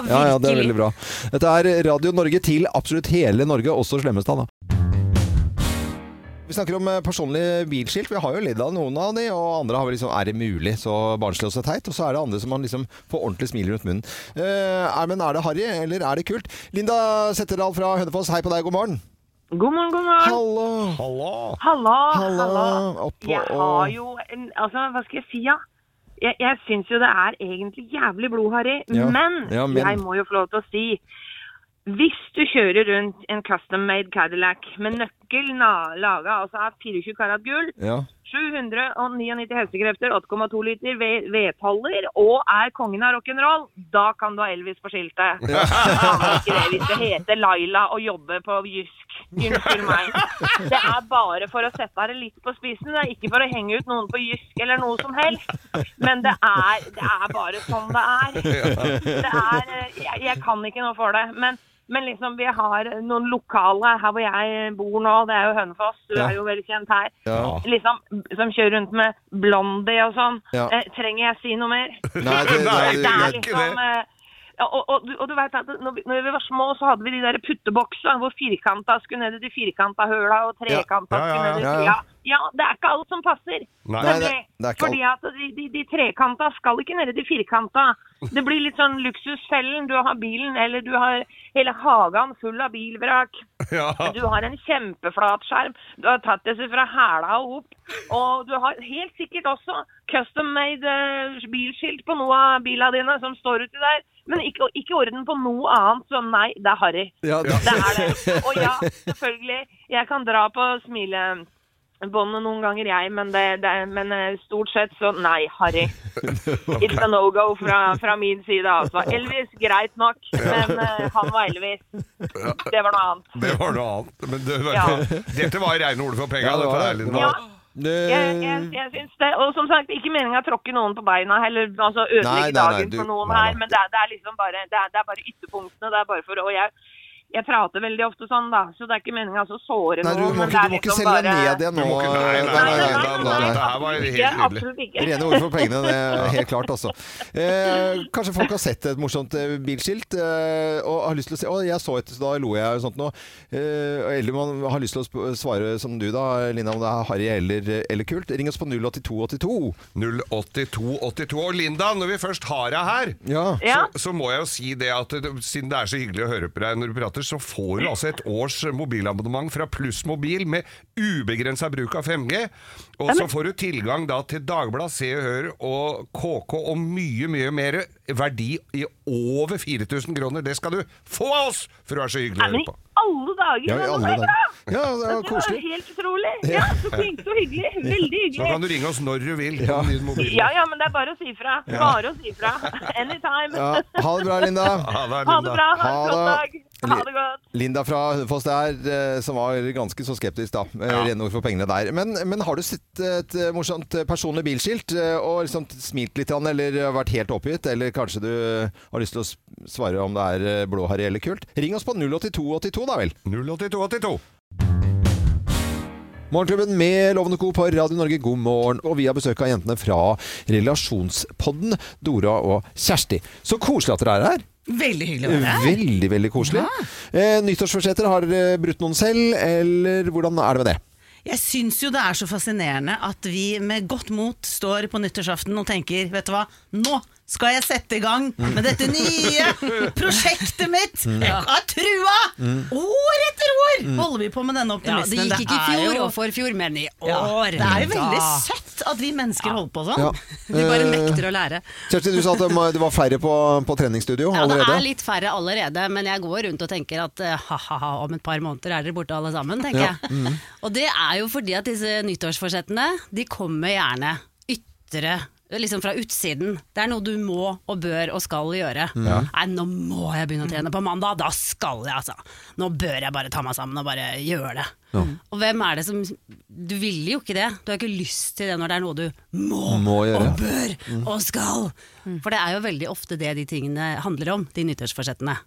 [SPEAKER 4] Ja,
[SPEAKER 3] det er
[SPEAKER 4] virkelig.
[SPEAKER 3] veldig bra. Dette er Radio Norge til absolutt hele Norge, også Slemmestad, da. Vi snakker om eh, personlige bilskilt. Vi har jo ledd av noen av de, og andre har vel liksom Er det mulig? Så barnslig og så teit. Og så er det andre som man liksom får ordentlig smil rundt munnen. Eh, er, men er det harry, eller er det kult? Linda Setterdal fra Hønefoss, hei på deg, god morgen.
[SPEAKER 6] God morgen, god morgen.
[SPEAKER 3] Hallo.
[SPEAKER 5] Halla!
[SPEAKER 6] Halla.
[SPEAKER 3] Halla. Opp og-
[SPEAKER 6] Jeg har jo en Altså, hva skal jeg si, ja? Jeg, jeg syns jo det er egentlig jævlig blodharry,
[SPEAKER 3] Ja.
[SPEAKER 6] men,
[SPEAKER 3] Ja, men.
[SPEAKER 6] jeg må jo få lov til å si Hvis du kjører rundt en custom made Cadillac med nøkkel laga altså av 24 karat gull,
[SPEAKER 3] Ja.
[SPEAKER 6] 799 hestekrefter, 8,2 liter ved- vedtaller og er kongen av rock'n'roll, da kan du ha Elvis på skiltet. Kan man ikke det hvis det heter Laila og jobber på Jysk. Unnskyld meg. Det er bare for å sette det litt på spissen. Det er ikke for å henge ut noen på Jysk eller noe som helst. Men det er, det er bare sånn det er. Det er eh, jeg, jeg kan ikke noe for det. Men Men liksom, vi har noen lokale her hvor jeg bor nå, det er jo Hønefoss, du
[SPEAKER 3] Ja.
[SPEAKER 6] er jo veldig kjent her,
[SPEAKER 3] Ja.
[SPEAKER 6] liksom, som kjører rundt med blondie og sånn.
[SPEAKER 3] Ja.
[SPEAKER 6] Eh, trenger jeg si noe mer?
[SPEAKER 3] Nei, det,
[SPEAKER 5] Nei,
[SPEAKER 3] det,
[SPEAKER 6] Det
[SPEAKER 5] gjør
[SPEAKER 6] er
[SPEAKER 3] det,
[SPEAKER 5] ikke
[SPEAKER 6] liksom... eh, ja, og, og, du- og du vet at når vi, når vi var små, så hadde vi de der putteboksa hvor firkanta skulle ned i de firkanta høla, og trekanta
[SPEAKER 5] Ja, ja,
[SPEAKER 6] skulle ned i
[SPEAKER 3] ja, ja.
[SPEAKER 6] ja, ja, det er ikke alt som passer.
[SPEAKER 5] Nei.
[SPEAKER 3] Nei,
[SPEAKER 6] Nemlig.
[SPEAKER 3] det- det er ikke
[SPEAKER 6] Fordi at de, de, de trekanta skal ikke ned i de firkanta. Det blir litt sånn luksusfellen. Du har bilen, eller du har hele hagen full av bilvrak.
[SPEAKER 5] Ja.
[SPEAKER 6] Du har en kjempeflat skjerm. Du har tatt disse fra hæla og opp. Og du har helt sikkert også custom made eh, bilskilt på noe av bilene dine som står uti der. Men ikke, ikke orden på noe annet, så nei, det er harry.
[SPEAKER 3] ja, det,
[SPEAKER 6] Det er det. Og ja, selvfølgelig. Jeg kan dra på smilebåndet noen ganger, jeg, men, det, det, men eh, stort sett så nei, Harry. It's a no-go fra, fra min side, altså. Elvis, greit nok, men eh, han var Elvis. Det var noe annet.
[SPEAKER 5] Det var noe annet. Men det,
[SPEAKER 6] Ja.
[SPEAKER 5] dette var rene ord for penga.
[SPEAKER 3] Ja, det
[SPEAKER 5] dette
[SPEAKER 3] var
[SPEAKER 5] er
[SPEAKER 3] det.
[SPEAKER 5] litt-
[SPEAKER 3] Det
[SPEAKER 6] Ja,
[SPEAKER 3] var-
[SPEAKER 6] jeg,
[SPEAKER 3] Eh,
[SPEAKER 6] jeg, jeg syns det. Og som sagt, ikke meninga å tråkke noen på beina eller altså,
[SPEAKER 3] Nei, nei,
[SPEAKER 6] ødelegge
[SPEAKER 3] nei,
[SPEAKER 6] dagen
[SPEAKER 3] du-
[SPEAKER 6] for noen
[SPEAKER 3] nei, nei.
[SPEAKER 6] her, men det, er- det er liksom bare det er, det er bare ytterpunktene. Det er bare for Og jeg, jeg prater veldig ofte sånn, da, så det er ikke meninga å såre
[SPEAKER 3] Nei, du
[SPEAKER 6] noen. men det
[SPEAKER 3] må ikke, du
[SPEAKER 6] er
[SPEAKER 3] må ikke
[SPEAKER 6] liksom
[SPEAKER 3] selge deg
[SPEAKER 6] bare-
[SPEAKER 3] ned igjen
[SPEAKER 5] Du
[SPEAKER 3] nå.
[SPEAKER 5] må ikke- nei, nei,
[SPEAKER 6] Nei,
[SPEAKER 3] Nei, nei,
[SPEAKER 6] nei,
[SPEAKER 3] nei, nei, nei.
[SPEAKER 5] Dette her var helt
[SPEAKER 6] Ikke,
[SPEAKER 5] nydelig.
[SPEAKER 6] Absolutt ikke.
[SPEAKER 3] Rene ord for pengene, det er helt klart altså. Eh, kanskje folk har sett et morsomt eh, bilskilt eh, og har lyst til å si Å, jeg så et, så da lo jeg og sånt noe. Eh, eller man har lyst til å sp- svare som du da, Lina, om det er harry eller, eller kult. Ring oss på 08282.
[SPEAKER 5] 08282. Og Linda, når vi først har deg her,
[SPEAKER 3] Ja.
[SPEAKER 6] Ja.
[SPEAKER 5] så, så må jeg jo si det at det- siden det er så hyggelig å høre på deg når du prater, så får du altså et års mobilabonnement fra Pluss Mobil med ubegrensa bruk av 5G. Og så får du tilgang da til Dagbladet, Se og Hør og KK og mye, mye mer. Verdi i over 4000 kroner. Det skal du få av oss, for du er så hyggelig å
[SPEAKER 6] Nei, men
[SPEAKER 5] høre
[SPEAKER 6] i
[SPEAKER 5] på.
[SPEAKER 6] alle dager!
[SPEAKER 3] Ja, i
[SPEAKER 6] det var så
[SPEAKER 3] alle dager.
[SPEAKER 6] bra!
[SPEAKER 3] Ja, det var
[SPEAKER 6] Det var
[SPEAKER 3] koselig.
[SPEAKER 6] helt utrolig. Ja, så flink, så hyggelig. Veldig
[SPEAKER 5] Så kan du
[SPEAKER 6] hyggelig.
[SPEAKER 5] ringe oss når du vil. på den nye mobilen.
[SPEAKER 6] Ja, ja, men det er bare å si fra. Bare å si fra. Anytime.
[SPEAKER 3] Ja, ha det bra, Linda.
[SPEAKER 5] Ha det,
[SPEAKER 6] Ha
[SPEAKER 5] Linda.
[SPEAKER 6] det bra. Ha en
[SPEAKER 3] Ha
[SPEAKER 6] flott dag.
[SPEAKER 3] det.
[SPEAKER 6] Ha det godt.
[SPEAKER 3] Linda fra Hønefoss der, eh, som var ganske så skeptisk, da. Eh, Rene ord for pengene der. Men, men har du sett et eh, morsomt eh, personlig bilskilt eh, og liksom smilt litt, grann, eller eh, vært helt oppgitt? Eller kanskje du har lyst til å s- svare om det er eh, blåharry eller kult? Ring oss på 08282, da vel.
[SPEAKER 5] 08282.
[SPEAKER 3] Morgenklubben med Lovende Co på Radio Norge, god morgen. Og vi har besøk av jentene fra Relasjonspodden, Dora og Kjersti. Så koselig at dere er her.
[SPEAKER 7] Veldig hyggelig å være her.
[SPEAKER 3] Veldig, veldig koselig. Eh, nyttårsforsetter, har dere brutt noen selv, eller hvordan er det med det?
[SPEAKER 7] Jeg syns jo det er så fascinerende at vi med godt mot står på nyttårsaften og tenker, vet du hva, nå skal jeg sette i gang med dette nye prosjektet mitt! Jeg har trua! År etter år holder vi på med
[SPEAKER 8] Ja,
[SPEAKER 7] denne
[SPEAKER 8] det
[SPEAKER 7] optimismen.
[SPEAKER 8] gikk ikke i
[SPEAKER 7] er
[SPEAKER 8] fjor
[SPEAKER 7] jo-
[SPEAKER 8] og for fjor, men i
[SPEAKER 7] Ja,
[SPEAKER 8] år.
[SPEAKER 7] Det er jo veldig
[SPEAKER 8] da.
[SPEAKER 7] søtt at vi mennesker holder på sånn.
[SPEAKER 3] Ja.
[SPEAKER 8] Vi bare
[SPEAKER 3] Eh,
[SPEAKER 8] nekter å lære.
[SPEAKER 3] Kjersti, du sa at det må- det var færre på, på treningsstudio
[SPEAKER 8] Ja, det er
[SPEAKER 3] allerede.
[SPEAKER 8] litt færre allerede, men jeg går rundt og tenker at eh, ha-ha-ha, om et par måneder er dere borte alle sammen, tenker
[SPEAKER 3] Ja,
[SPEAKER 8] jeg. Og det er jo fordi at disse nyttårsforsettene, de kommer gjerne ytre, liksom fra
[SPEAKER 4] Mm.
[SPEAKER 8] utsiden. Det er noe du må og bør og skal gjøre. Nei, nå må jeg begynne å trene på mandag, da skal jeg altså. Nå bør jeg bare ta meg sammen og bare gjøre det. Og hvem er det som Du vil jo ikke det. Du har ikke lyst til det når det er noe du må,
[SPEAKER 3] Må gjøre.
[SPEAKER 8] og bør og skal. Mm. For det er jo veldig ofte det de tingene handler om, de nyttårsforsettene.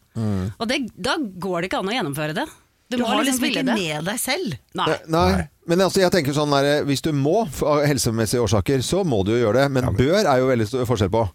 [SPEAKER 8] Og det, da går det ikke an å gjennomføre det. Du,
[SPEAKER 7] Du
[SPEAKER 8] må
[SPEAKER 7] har
[SPEAKER 8] liksom
[SPEAKER 7] liksom ikke
[SPEAKER 8] ville det.
[SPEAKER 7] med deg selv.
[SPEAKER 8] Nei.
[SPEAKER 3] Eh, Nei. Men altså, jeg tenker sånn der, hvis du må av helsemessige årsaker, så må du jo gjøre det. Men bør er jo veldig stor forskjell på.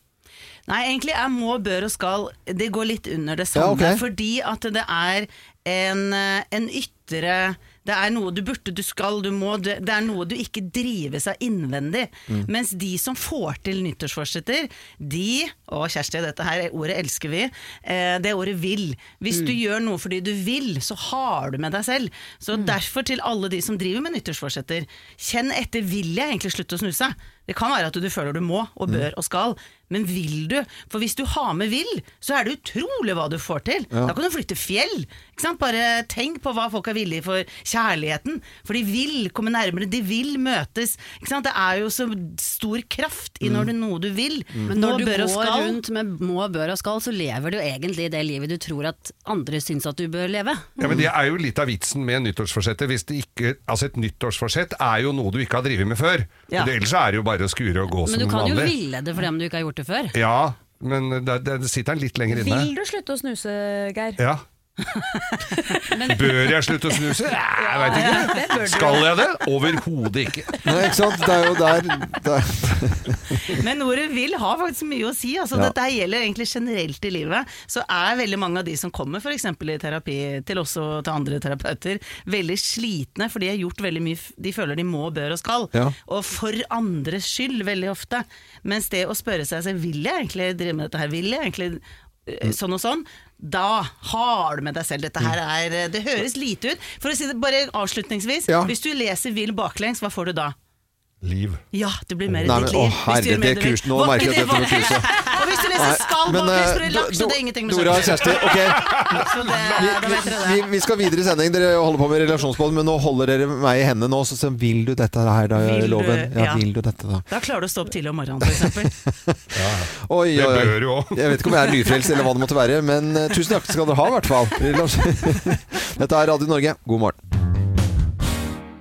[SPEAKER 7] Nei, egentlig er må, bør og skal Det går litt under det
[SPEAKER 3] Ja,
[SPEAKER 7] samme.
[SPEAKER 3] ok.
[SPEAKER 7] Fordi at det er en, eh, en ytre Det er noe du burde, du skal, du må. Det det er noe du ikke drives av innvendig.
[SPEAKER 3] Mm.
[SPEAKER 7] Mens de som får til nyttårsforsetter, de Og Kjersti, dette her ordet elsker vi. eh, Det ordet vil. Hvis
[SPEAKER 3] Mm.
[SPEAKER 7] du gjør noe fordi du vil, så har du med deg selv. Så
[SPEAKER 3] Mm.
[SPEAKER 7] derfor til alle de som driver med nyttårsforsetter, kjenn etter vil jeg egentlig slutte å snuse? Det kan være at du føler du må og bør og skal, men vil du? For hvis du har med vil, så er det utrolig hva du får til. Da kan du flytte fjell. Ikke sant? Bare tenk på hva folk er villige for kjærligheten. For de vil komme nærmere, de vil møtes. Ikke sant? Det er jo så stor kraft i når det er noe du vil.
[SPEAKER 8] Mm. Men
[SPEAKER 7] Nå
[SPEAKER 8] når du
[SPEAKER 7] bør og
[SPEAKER 8] går
[SPEAKER 7] skal.
[SPEAKER 8] rundt med må, bør og skal, så lever du egentlig det livet du tror at andre syns at du bør leve.
[SPEAKER 5] Ja, men Det er jo litt av vitsen med nyttårsforsettet. Hvis det ikke, altså et nyttårsforsett er jo noe du ikke har drevet med før.
[SPEAKER 7] Ja.
[SPEAKER 5] Og det- Ellers er det jo bare å skure og gå
[SPEAKER 8] Men du
[SPEAKER 5] som
[SPEAKER 8] kan jo
[SPEAKER 5] vanlig.
[SPEAKER 8] ville det fordi om du ikke har gjort det før.
[SPEAKER 5] Ja, men der, der sitter den litt lenger inne.
[SPEAKER 9] Vil du slutte å snuse, Geir?
[SPEAKER 5] Ja. Bør jeg slutte å snuse? Jeg veit ikke. Skal jeg det? Overhodet ikke.
[SPEAKER 3] Nei, ikke sant? Det er jo der, der.
[SPEAKER 7] Men ordet vil har faktisk mye å si. Altså,
[SPEAKER 3] Ja.
[SPEAKER 7] Dette her gjelder egentlig generelt i livet. Så er veldig mange av de som kommer for eksempel i terapi til oss og til andre terapeuter, veldig slitne, for de har gjort veldig mye f- de føler de må, bør og skal.
[SPEAKER 3] Ja.
[SPEAKER 7] Og for andres skyld, veldig ofte. Mens det å spørre seg selv vil jeg egentlig drive med dette her, vil jeg egentlig eh, Sånn og sånn. Da har du med deg selv. Dette her
[SPEAKER 3] Mm.
[SPEAKER 7] er eh, Det høres lite ut. For å si det bare avslutningsvis.
[SPEAKER 3] Ja.
[SPEAKER 7] Hvis du leser 'Vil baklengs', hva får du da?
[SPEAKER 5] Liv.
[SPEAKER 7] Ja, det blir mer i
[SPEAKER 3] Nei,
[SPEAKER 7] ditt
[SPEAKER 3] men,
[SPEAKER 7] liv.
[SPEAKER 3] å,
[SPEAKER 7] hvis du gjør
[SPEAKER 3] herre,
[SPEAKER 7] mer
[SPEAKER 3] det
[SPEAKER 7] du vil.
[SPEAKER 3] kurset- nå
[SPEAKER 7] Hva-
[SPEAKER 3] merker jeg at dette var kurset.
[SPEAKER 7] Og hvis du leser skal
[SPEAKER 3] men,
[SPEAKER 7] bak
[SPEAKER 3] eh,
[SPEAKER 7] lysbrød laks, så
[SPEAKER 3] Do-
[SPEAKER 7] det er ingenting med
[SPEAKER 3] Dora og
[SPEAKER 7] kjøtt.
[SPEAKER 3] Kjersti, ok.
[SPEAKER 7] Så det, da vet dere
[SPEAKER 3] Vi,
[SPEAKER 7] det.
[SPEAKER 3] vi skal videre i sending. Dere holder på med relasjonsbånd, men nå holder dere meg i hendene nå. Så sier de, vil du dette her, da,
[SPEAKER 7] Vil du-
[SPEAKER 3] loven? Ja,
[SPEAKER 7] ja.
[SPEAKER 3] vil du dette, da?
[SPEAKER 7] Da klarer du å stå opp tidlig om morgenen, f.eks.
[SPEAKER 3] Oi,
[SPEAKER 5] Det
[SPEAKER 3] oi, oi.
[SPEAKER 5] bør du òg.
[SPEAKER 3] Jeg vet ikke om jeg er nyfrelst eller hva det måtte være, men eh, tusen takk skal dere ha, i hvert fall. Dette er Radio Norge, god morgen.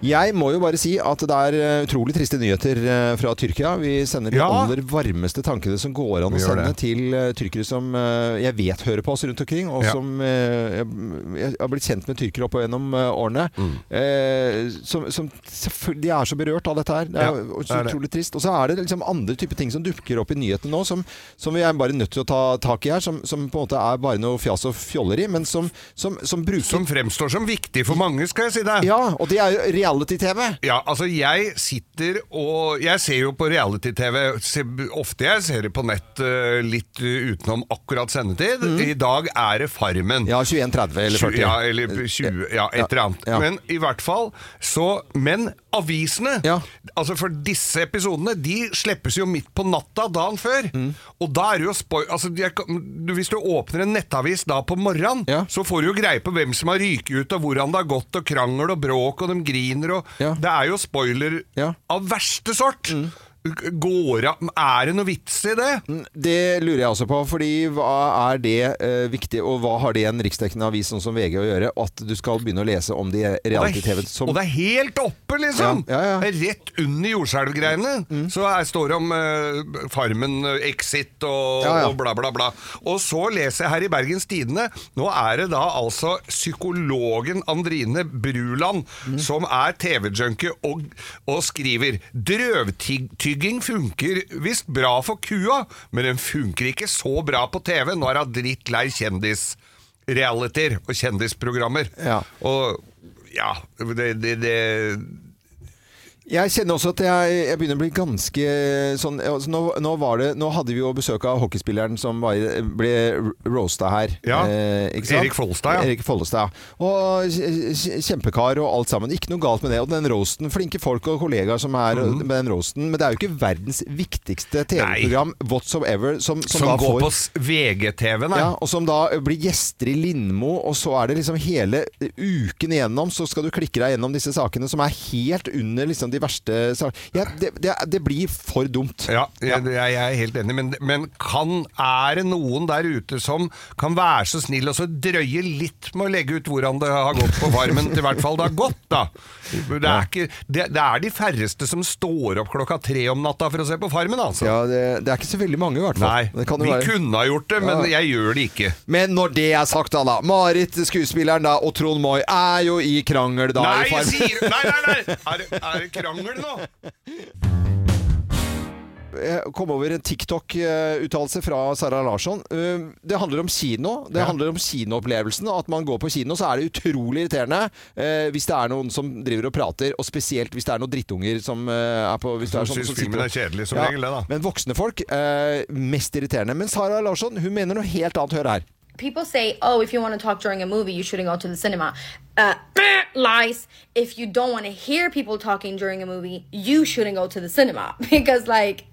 [SPEAKER 3] Jeg må jo bare si at det er eh, utrolig triste nyheter eh, fra Tyrkia. Vi sender de
[SPEAKER 5] Ja.
[SPEAKER 3] aller varmeste tankene som går an å
[SPEAKER 5] Vi gjør
[SPEAKER 3] sende
[SPEAKER 5] det.
[SPEAKER 3] til eh, tyrkere som eh, jeg vet hører på oss rundt omkring, og
[SPEAKER 5] Ja.
[SPEAKER 3] som eh, jeg- jeg har blitt kjent med tyrkere opp gjennom eh, årene.
[SPEAKER 5] Mm.
[SPEAKER 3] Eh, Som, som selvfølgelig- de er så berørt av dette her. Det er
[SPEAKER 5] Ja,
[SPEAKER 3] jo
[SPEAKER 5] det
[SPEAKER 3] så
[SPEAKER 5] er det.
[SPEAKER 3] utrolig trist. Og så er det liksom andre typer ting som dukker opp i nyhetene nå, som, som vi er bare nødt til å ta tak i her. Som, som på en måte er bare noe fjas og fjolleri, men som, som, som bruker
[SPEAKER 5] Som fremstår som viktig for mange, skal jeg si deg.
[SPEAKER 3] Ja, og det er jo reality-TV.
[SPEAKER 5] Ja, altså jeg sitter og Jeg ser jo på reality-TV se- ofte. Jeg ser det på nett eh, litt eh, utenom akkurat sendetid. I dag er det Farmen.
[SPEAKER 3] Ja, 21.30 eller Eh, 40.
[SPEAKER 5] Ja, eller 20, ja, et eller annet.
[SPEAKER 3] Ja.
[SPEAKER 5] Men i hvert fall så Men avisene,
[SPEAKER 3] Ja.
[SPEAKER 5] altså for disse episodene, de slippes jo midt på natta dagen før.
[SPEAKER 3] Mm.
[SPEAKER 5] Og da er det jo spoil... Altså, jeg kan- du, hvis du åpner en nettavis da på morgenen,
[SPEAKER 3] Ja.
[SPEAKER 5] så får du jo greie på hvem som har ryket ut, og hvordan det har gått, og krangel og bråk, og de griner, og
[SPEAKER 3] Ja.
[SPEAKER 5] Det er jo spoiler
[SPEAKER 3] Ja. Mm.
[SPEAKER 5] av verste sort. Går av Er det noe vits i det?
[SPEAKER 3] Det lurer jeg også på, fordi hva er det eh, viktig, og hva har det en riksdekkende avis sånn som VG å gjøre, at du skal begynne å lese om de reality-TV
[SPEAKER 5] Og det er he-
[SPEAKER 3] som
[SPEAKER 5] Og det er helt oppe, liksom!
[SPEAKER 3] Ja, ja, Mm. ja.
[SPEAKER 5] Det er Rett under jordskjelvgreiene. Så her står det om eh, Farmen, eh, Exit og,
[SPEAKER 3] Ja, ja.
[SPEAKER 5] og bla, bla, bla. Og så leser jeg her i Bergens Tidende Nå er det da altså psykologen Andrine Bruland som er TV-junkie og, og skriver Drøvtygging funker visst bra for kua, men den funker ikke så bra på TV. Nå er hun drittlei kjendisrealiteter og kjendisprogrammer.
[SPEAKER 3] Ja.
[SPEAKER 5] Og ja, det, det, det
[SPEAKER 3] Jeg kjenner også at jeg, jeg begynner å bli ganske sånn altså nå, nå, var det, nå hadde vi jo besøk av hockeyspilleren som var, i- ble roasta her. eh,
[SPEAKER 5] Ja.
[SPEAKER 3] ikke sant?
[SPEAKER 5] Erik Follestad, ja.
[SPEAKER 3] Erik Follestad. Og kj- kj- kjempekar og alt sammen. Ikke noe galt med det. Og den roasten, flinke folk og kollegaer som er
[SPEAKER 5] Mhm.
[SPEAKER 3] med den roasten. Men det er jo ikke verdens viktigste TV-program whatsoever som, som,
[SPEAKER 5] Som
[SPEAKER 3] da
[SPEAKER 5] går
[SPEAKER 3] får
[SPEAKER 5] på s- VGTV, nei.
[SPEAKER 3] ja, og som da blir gjester i Lindmo, og så er det liksom hele uken igjennom, så skal du klikke deg gjennom disse sakene som er helt under liksom de verste sakene. Ja, det, det, det blir for dumt.
[SPEAKER 5] Ja, jeg, jeg, jeg er helt enig, men, men kan, er det noen der ute som kan være så snill og så drøye litt med å legge ut hvordan det har gått på Farmen? til I hvert fall det har gått, da. Det er, ikke, det, det er de færreste som står opp klokka tre om natta for å se på Farmen, altså.
[SPEAKER 3] Ja, det, det er ikke så veldig mange i hvert fall.
[SPEAKER 5] Nei,
[SPEAKER 3] Det kan jo
[SPEAKER 5] vi
[SPEAKER 3] være-
[SPEAKER 5] kunne ha gjort det, men jeg gjør det ikke.
[SPEAKER 3] Men når det er sagt da, da Marit, skuespilleren da, og Trond Moi er jo i krangel da
[SPEAKER 5] Nei,
[SPEAKER 3] i
[SPEAKER 5] jeg
[SPEAKER 3] Farmen.
[SPEAKER 5] sier Nei, nei, nei! Er, det- er det krangel nå?
[SPEAKER 3] Jeg kom over en TikTok-uttalelse fra Sara Larsson. Eh, Det handler om kino. Det handler om kinoopplevelsen. og At man går på kino, så er det utrolig irriterende eh, hvis det er noen som driver og prater, og spesielt hvis det er noen drittunger som eh, er på hvis det er
[SPEAKER 5] Som
[SPEAKER 3] sånne
[SPEAKER 5] syns
[SPEAKER 3] sitter
[SPEAKER 5] filmen
[SPEAKER 3] og-
[SPEAKER 5] er kjedelig, som regel, det, da.
[SPEAKER 3] Men voksne folk, eh, mest irriterende. Men Sara Larsson, hun mener noe helt annet. Hør her.
[SPEAKER 9] people say, oh, if you want to talk during a movie, you shouldn't go to the cinema. Uh, lies. If you don't want to hear people talking during a movie, you shouldn't go to the cinema. Because, like,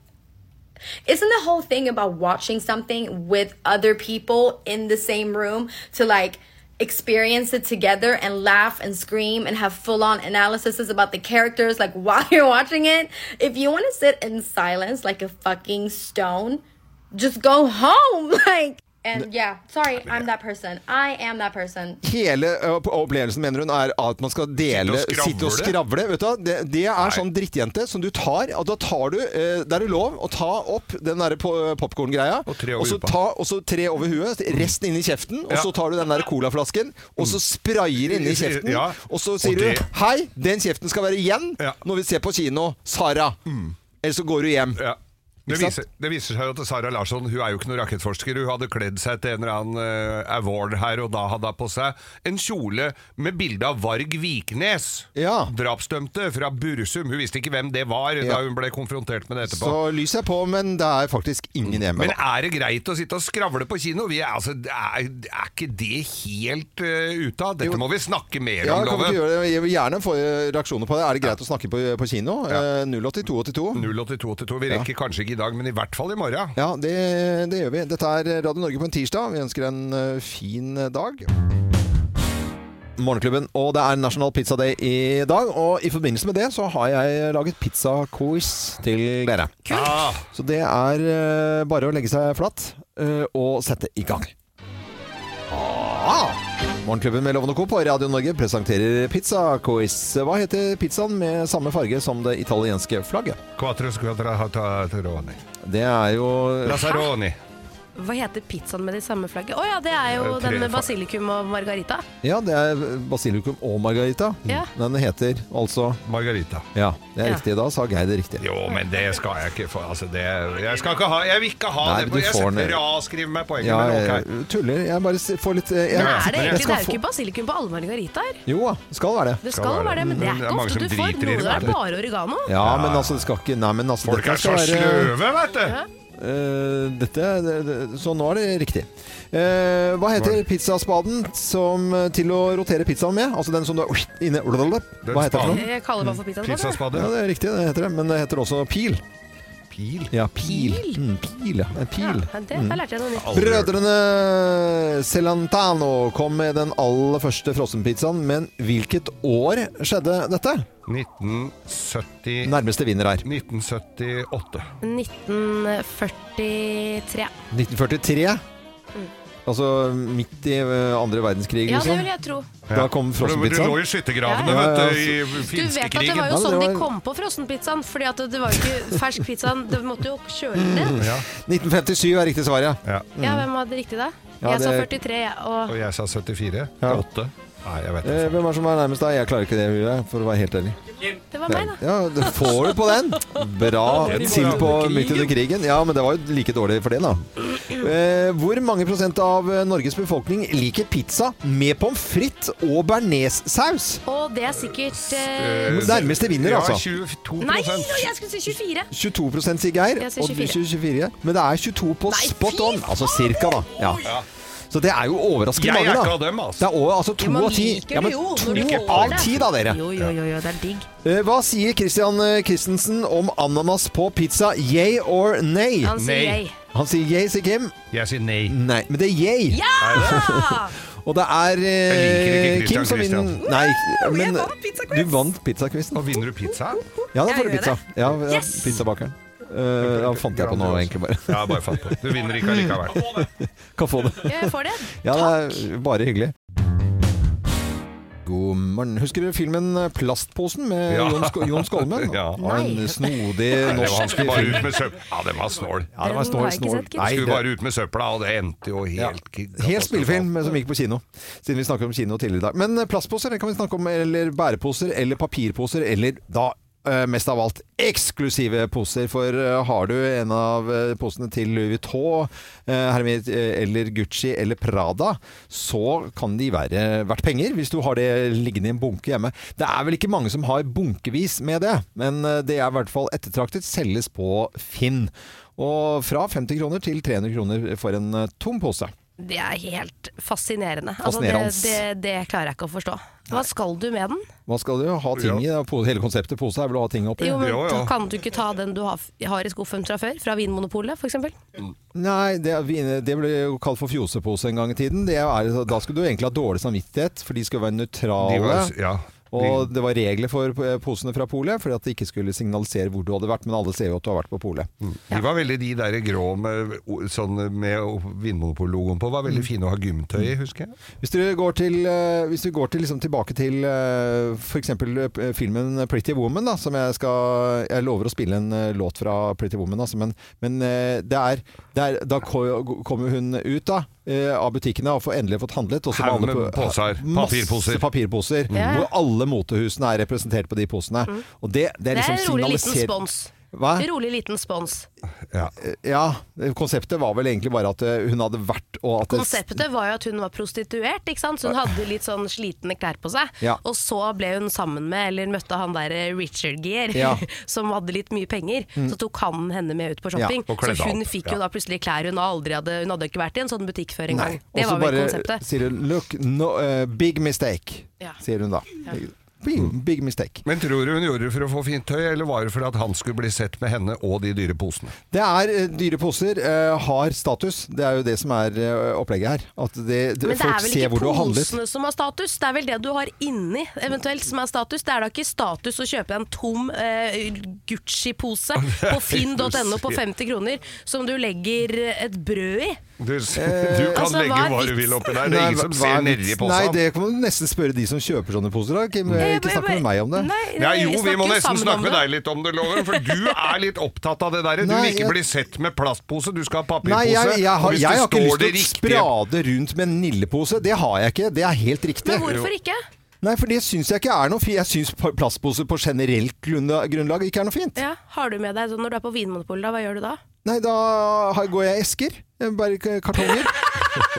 [SPEAKER 9] isn't the whole thing about watching something with other people in the same room to, like, experience it together and laugh and scream and have full-on analyses about the characters like while you're watching it if you want to sit in silence like a fucking stone just go home like And yeah, sorry, I'm that person. I am that person.
[SPEAKER 3] Hele ø, opplevelsen, mener hun, er at man skal dele
[SPEAKER 5] Sitte og skravle.
[SPEAKER 3] Sitte og skravle. Vet du, hva? det, det er sånn drittjente som du tar og Da tar du eh, Det er det lov å ta opp den derre popkorn-greia.
[SPEAKER 5] Og tre over
[SPEAKER 3] så
[SPEAKER 5] hupa.
[SPEAKER 3] ta, og så tre over huet, resten inn i kjeften. Og
[SPEAKER 5] Ja. Mm.
[SPEAKER 3] så tar du den der colaflasken, og så sprayer inni kjeften.
[SPEAKER 5] Ja.
[SPEAKER 3] Og så
[SPEAKER 5] Og
[SPEAKER 3] sier
[SPEAKER 5] det-
[SPEAKER 3] du 'Hei, den kjeften skal være igjen
[SPEAKER 5] Ja. Mm.
[SPEAKER 3] når vi ser på kino, Sara'. Eller så går du hjem.
[SPEAKER 5] Ja. Det
[SPEAKER 3] Ikke sant?
[SPEAKER 5] viser, det viser seg jo at Sara Larsson hun er jo ikke noen rakettforsker. Hun hadde kledd seg til en eller annen eh, award her, og da hadde hun på seg en kjole med bilde av Varg Viknes.
[SPEAKER 3] Ja.
[SPEAKER 5] Drapsdømte fra Bursum. Hun visste ikke hvem det var
[SPEAKER 3] Ja.
[SPEAKER 5] da hun ble konfrontert med det etterpå.
[SPEAKER 3] Så lyset er på, men det er faktisk ingen hjemme.
[SPEAKER 5] Mm. Men
[SPEAKER 3] da.
[SPEAKER 5] er det greit å sitte og skravle på kino? Vi er, altså, er, er ikke det helt eh, ute av? Dette må vi snakke mer
[SPEAKER 3] Ja,
[SPEAKER 5] om,
[SPEAKER 3] kan vi ikke
[SPEAKER 5] Loven.
[SPEAKER 3] gjøre det? Jeg vil gjerne få eh, reaksjoner på det. Er det greit å snakke på, på kino? Eh, 08282.
[SPEAKER 5] 08282. Vi rekker kanskje ikke i dag, men i hvert fall i morgen.
[SPEAKER 3] Ja, det, det gjør vi. Dette er Radio Norge på en tirsdag. Vi ønsker en eh, fin dag. Morgenklubben, og det er National Pizza Day i dag. Og i forbindelse med det så har jeg laget pizzaquiz til dere.
[SPEAKER 5] Ah,
[SPEAKER 3] Så det er eh, bare å legge seg flatt eh, og sette i gang. Ah! Morgenklubben med Loven og Co. på Radio Norge presenterer pizza-quiz. Hva heter pizzaen med samme farge som det italienske flagget?
[SPEAKER 5] quattro squadratoni.
[SPEAKER 3] Det er jo
[SPEAKER 5] Lazzaroni.
[SPEAKER 4] Hva heter pizzaen med de samme flagget? Å ja, det er jo
[SPEAKER 5] Tre
[SPEAKER 4] den med
[SPEAKER 5] fa-
[SPEAKER 4] basilikum og margarita.
[SPEAKER 3] Ja, det er basilikum og margarita.
[SPEAKER 4] Ja.
[SPEAKER 3] Den heter altså
[SPEAKER 5] Margarita.
[SPEAKER 3] Ja, det er
[SPEAKER 4] Ja.
[SPEAKER 3] riktig. Da sa Geir det riktig.
[SPEAKER 5] Jo, men det skal jeg ikke få. Altså, det, jeg, skal ikke ha, jeg vil ikke ha
[SPEAKER 3] Nei,
[SPEAKER 5] det.
[SPEAKER 3] men du
[SPEAKER 5] Jeg
[SPEAKER 3] får
[SPEAKER 5] setter
[SPEAKER 3] den.
[SPEAKER 5] avskriv meg poenget,
[SPEAKER 3] Ja,
[SPEAKER 5] men
[SPEAKER 3] jeg
[SPEAKER 5] ok.
[SPEAKER 3] tuller. Jeg bare s- får litt eh, jeg,
[SPEAKER 4] Er
[SPEAKER 5] Men Ja,
[SPEAKER 4] det
[SPEAKER 3] jeg
[SPEAKER 4] egentlig? Det
[SPEAKER 3] skal
[SPEAKER 4] er jo
[SPEAKER 3] få-
[SPEAKER 4] ikke basilikum på alle margaritaer.
[SPEAKER 3] Jo da, skal være det.
[SPEAKER 4] Det skal jo være det, men det er
[SPEAKER 5] Mm, det er
[SPEAKER 4] ikke
[SPEAKER 5] mange
[SPEAKER 4] ofte
[SPEAKER 5] som
[SPEAKER 4] du får.
[SPEAKER 5] driter i det,
[SPEAKER 4] Noe
[SPEAKER 5] vet
[SPEAKER 4] er
[SPEAKER 5] du.
[SPEAKER 4] bare oregano.
[SPEAKER 3] Ja, men altså, det skal ikke Nei, men altså
[SPEAKER 5] Folk
[SPEAKER 3] dette
[SPEAKER 5] er så
[SPEAKER 3] skal være-
[SPEAKER 5] sløve, vet du!
[SPEAKER 3] Eh, dette, det, det, så nå er det riktig. Eh, hva heter pizzaspaden som, eh, til å rotere pizzaen med? Altså den som du er inne Hva heter det for noe?
[SPEAKER 4] Jeg kaller det bare for pizzaen.
[SPEAKER 3] Ja,
[SPEAKER 5] Pizzaspade.
[SPEAKER 3] det er riktig, det heter det. Men det heter også pil.
[SPEAKER 5] Pil.
[SPEAKER 3] Ja, pil. Mm, pil, ja. En pil. Mm.
[SPEAKER 4] Ja, det, der lærte jeg noe nytt.
[SPEAKER 5] Aldri hørt.
[SPEAKER 3] Brødrene Celantano kom med den aller første frossenpizzaen, men hvilket år skjedde dette?
[SPEAKER 5] 1970
[SPEAKER 3] Nærmeste vinner her.
[SPEAKER 5] 1978.
[SPEAKER 4] 1943.
[SPEAKER 3] 1943. Altså midt i eh, andre verdenskrig,
[SPEAKER 4] Mm. Ja, det
[SPEAKER 3] liksom.
[SPEAKER 4] vil jeg tro.
[SPEAKER 3] Da kom
[SPEAKER 5] For Du du
[SPEAKER 3] frossenpizzaen.
[SPEAKER 5] lå i skyttergravene,
[SPEAKER 3] Ja, altså. ja, ja,
[SPEAKER 5] vet du, i
[SPEAKER 4] Du vet at det var
[SPEAKER 5] finskekrigen.
[SPEAKER 4] jo
[SPEAKER 3] Ja, det
[SPEAKER 4] sånn de
[SPEAKER 3] var-
[SPEAKER 4] kom på frossenpizzaen. Fordi at det var jo ikke fersk pizzaen. Det måtte jo kjøle den ned.
[SPEAKER 5] Ja,
[SPEAKER 3] 1957 er riktig svar, ja.
[SPEAKER 5] ja.
[SPEAKER 4] Ja, hvem hadde riktig da?
[SPEAKER 3] Mm. Ja,
[SPEAKER 4] Jeg sa
[SPEAKER 3] det-
[SPEAKER 4] 43, jeg. Og
[SPEAKER 5] Og jeg sa 74.
[SPEAKER 3] Ja.
[SPEAKER 5] 8. Nei, jeg vet
[SPEAKER 3] Eh,
[SPEAKER 5] ikke.
[SPEAKER 3] Hvem er som er nærmest deg? Jeg klarer ikke det, Julie, for å være helt ærlig.
[SPEAKER 4] det var meg, da.
[SPEAKER 3] Ja, du får du på den! Bra til på midt under krigen. Ja, men det var jo like dårlig for det, da. Eh, Hvor mange prosent av eh, Norges befolkning liker pizza med pommes frites og bearnéssaus?
[SPEAKER 4] Og det er sikkert eh,
[SPEAKER 5] Eh,
[SPEAKER 3] Nærmeste vinner, altså.
[SPEAKER 5] Ja, 22
[SPEAKER 4] Nei, jeg skulle si 24!
[SPEAKER 3] 22 sier Geir,
[SPEAKER 4] Jeg sier
[SPEAKER 3] og du
[SPEAKER 4] 24.
[SPEAKER 3] sier 24. Men det er 22 på spot on. Altså cirka, da. Ja. Så det er jo overraskende
[SPEAKER 5] Jeg er
[SPEAKER 3] mange, da.
[SPEAKER 5] ikke av dem, altså.
[SPEAKER 3] Det er over, altså to
[SPEAKER 7] man
[SPEAKER 3] av ti.
[SPEAKER 7] liker
[SPEAKER 3] Ja,
[SPEAKER 7] det
[SPEAKER 3] men
[SPEAKER 7] jo når du
[SPEAKER 3] to
[SPEAKER 7] får
[SPEAKER 3] av
[SPEAKER 7] det.
[SPEAKER 3] ti, da, dere.
[SPEAKER 4] Jo, jo, jo, jo, det er digg.
[SPEAKER 3] Eh, Hva sier Christian eh, Christensen om ananas på pizza? Yay or nay?
[SPEAKER 4] Han sier
[SPEAKER 5] Nei.
[SPEAKER 4] jeg.
[SPEAKER 3] Han sier yay, sier Kim.
[SPEAKER 5] Jeg sier nei.
[SPEAKER 3] Nei, men det er yay.
[SPEAKER 4] Ja!
[SPEAKER 3] Og det er eh,
[SPEAKER 5] Jeg liker ikke
[SPEAKER 3] Kim
[SPEAKER 5] Christian
[SPEAKER 3] som vinner.
[SPEAKER 5] Christian.
[SPEAKER 3] Nei, men
[SPEAKER 7] vant pizza-quiz!
[SPEAKER 3] du vant pizza-quizen.
[SPEAKER 5] Og vinner du pizza?
[SPEAKER 3] Ja, da
[SPEAKER 7] Jeg
[SPEAKER 3] får du
[SPEAKER 7] gjør
[SPEAKER 3] pizza. Ja, ja, Pizzabakeren. Eh, da fant jeg på noe, egentlig bare.
[SPEAKER 5] Ja, bare fant på. Du vinner ikke allikevel.
[SPEAKER 3] Kan få det.
[SPEAKER 4] Jeg får det.
[SPEAKER 3] Ja, det er bare hyggelig. God morgen. Husker du filmen 'Plastposen' med
[SPEAKER 5] Ja.
[SPEAKER 3] Jon, Sk Jon Skolmen?
[SPEAKER 5] Ja.
[SPEAKER 3] Av en snodig
[SPEAKER 5] Det var, han
[SPEAKER 3] norsk
[SPEAKER 5] skulle bare
[SPEAKER 3] film.
[SPEAKER 5] ut med søpla. Ja, den var snål.
[SPEAKER 3] Ja, det var
[SPEAKER 4] Den har
[SPEAKER 3] snål,
[SPEAKER 4] jeg ikke
[SPEAKER 3] snål.
[SPEAKER 4] sett, gitt.
[SPEAKER 3] Nei,
[SPEAKER 5] Skulle
[SPEAKER 3] det-
[SPEAKER 5] bare ut med søpla, og det endte jo helt altså, gigantisk.
[SPEAKER 3] Helt spillefilm men som gikk på kino, siden vi snakker om kino tidligere i dag. Men eh, plastposer det kan vi snakke om, eller bæreposer, eller papirposer, eller da eh, mest av alt eksklusive poser. For eh, har du en av eh, posene til Louis Vuitton, eh, Hermit eh, eller Gucci eller Prada, så kan de være verdt penger hvis du har det liggende i en bunke hjemme. Det er vel ikke mange som har bunkevis med det, men eh, det er i hvert fall ettertraktet, selges på Finn. Og fra 50 kroner til 300 kroner for en eh, tom pose.
[SPEAKER 4] Det er helt fascinerende.
[SPEAKER 3] Fascinerende.
[SPEAKER 4] Altså, det, det, det klarer jeg ikke å forstå. Hva skal du med den?
[SPEAKER 3] Hva skal du ha ting i? da? Po- Hele konseptet pose er vel å ha ting oppi?
[SPEAKER 4] Jo, men
[SPEAKER 5] Jo, jo.
[SPEAKER 4] da Kan du ikke ta den du har, har i skuffen fra før? Fra Vinmonopolet, f.eks.?
[SPEAKER 3] Nei, det, er vin- det ble jo kalt for fjosepose en gang i tiden. Det er, da skulle du egentlig ha dårlig samvittighet, for de skulle være
[SPEAKER 5] De
[SPEAKER 3] nøytrale.
[SPEAKER 5] var, ja.
[SPEAKER 3] Og det var regler for eh, posene fra polet, for at det ikke skulle signalisere hvor du hadde vært, men alle ser jo at du har vært på polet.
[SPEAKER 5] De var veldig de der grå med, o- sånn, med Vinmonopol-logoen på, var
[SPEAKER 3] Mm.
[SPEAKER 5] veldig fine å ha gymtøy i, husker jeg.
[SPEAKER 3] Hvis dere går, til, eh, hvis vi går til, liksom, tilbake til eh, for eksempel eh, filmen Pretty Woman, da, som jeg skal Jeg lover å spille en eh, låt fra Pretty Woman, altså, men, men eh, det er, det er Da ko- kommer hun ut da, eh, av butikkene og får endelig fått handlet. og så var
[SPEAKER 5] Haug
[SPEAKER 3] alle
[SPEAKER 5] med
[SPEAKER 3] på-
[SPEAKER 5] poser, papirposer.
[SPEAKER 3] Masse papirposer.
[SPEAKER 4] Ja. Mm.
[SPEAKER 3] Hvor alle motehusene er representert på de posene. Og det, det
[SPEAKER 4] Det
[SPEAKER 3] er
[SPEAKER 4] er
[SPEAKER 3] liksom
[SPEAKER 4] en rolig liten
[SPEAKER 3] signaliser-
[SPEAKER 4] spons.
[SPEAKER 3] Hva?
[SPEAKER 4] Rolig liten spons.
[SPEAKER 5] Ja.
[SPEAKER 3] Ja, konseptet var vel egentlig bare at eh, hun hadde vært og at det-
[SPEAKER 4] Konseptet var jo at hun var prostituert, ikke sant? så hun hadde litt sånn slitne klær på seg.
[SPEAKER 3] Ja.
[SPEAKER 4] Og så ble hun sammen med, eller møtte han der eh, Richard Gere,
[SPEAKER 3] Ja. Mm.
[SPEAKER 4] som hadde litt mye penger. Så tok han henne med ut på shopping.
[SPEAKER 5] og kledde
[SPEAKER 4] så hun
[SPEAKER 5] av.
[SPEAKER 4] fikk jo da plutselig klær hun aldri hadde Hun hadde ikke vært i en sånn butikk før
[SPEAKER 3] Nei.
[SPEAKER 4] engang. Det
[SPEAKER 3] Og så
[SPEAKER 4] var vel
[SPEAKER 3] bare
[SPEAKER 4] konseptet.
[SPEAKER 3] Sier hun 'look, no, eh, big mistake',
[SPEAKER 4] Ja.
[SPEAKER 3] sier hun da. Big, big mistake.
[SPEAKER 5] Men tror du hun gjorde det for å få fint tøy, eller var det for at han skulle bli sett med henne og de dyre posene?
[SPEAKER 3] Det er eh, dyre poser, eh, har status. Det er jo det som er eh, opplegget her. At det, det,
[SPEAKER 4] Men det er
[SPEAKER 3] folk
[SPEAKER 4] vel
[SPEAKER 3] ser
[SPEAKER 4] ikke
[SPEAKER 3] hvor du har handlet.
[SPEAKER 4] posene som har status, det er vel det du har inni eventuelt som er status. Det er da ikke status å kjøpe en tom eh, Gucci-pose på finn.no på 50 kroner som du legger et brød i.
[SPEAKER 5] Du, s- du kan
[SPEAKER 4] altså,
[SPEAKER 5] legge
[SPEAKER 4] hva er
[SPEAKER 5] hva du
[SPEAKER 4] vitsen?
[SPEAKER 5] vil oppi der, det er ingen
[SPEAKER 3] Eh,
[SPEAKER 5] som
[SPEAKER 3] hva- hva
[SPEAKER 5] ser
[SPEAKER 3] er
[SPEAKER 5] nedi
[SPEAKER 3] vitsen? Nei,
[SPEAKER 5] posen.
[SPEAKER 3] det kan du nesten spørre de som kjøper sånne poser. Da. Kim, eh, ikke snakk med meg om det.
[SPEAKER 4] Nei,
[SPEAKER 5] Ja, jo, vi
[SPEAKER 4] snakker
[SPEAKER 5] må
[SPEAKER 4] jo
[SPEAKER 5] nesten
[SPEAKER 4] sammen om
[SPEAKER 5] snakke med
[SPEAKER 4] det.
[SPEAKER 5] deg litt om det, Loven, for du er litt opptatt av det der. Du vil
[SPEAKER 3] Nei,
[SPEAKER 5] ikke
[SPEAKER 3] jeg-
[SPEAKER 5] bli sett med plastpose, du skal ha papirpose.
[SPEAKER 3] Nei, jeg, jeg,
[SPEAKER 5] og
[SPEAKER 3] har,
[SPEAKER 5] hvis
[SPEAKER 3] jeg
[SPEAKER 5] det
[SPEAKER 3] har ikke
[SPEAKER 5] står
[SPEAKER 3] lyst til å
[SPEAKER 5] det riktige-
[SPEAKER 3] sprade rundt med en nillepose. Det har jeg ikke. Det er helt riktig.
[SPEAKER 4] Men hvorfor ikke?
[SPEAKER 3] Nei, for det syns jeg ikke er noe fint. Jeg syns plastposer på generelt grunna- grunnlag ikke er noe fint.
[SPEAKER 4] Ja, har du med deg sånn når du er på Vinmonopolet, da, hva gjør du da?
[SPEAKER 3] Nei, da har- går jeg i esker. Jeg Bærer k- kartonger.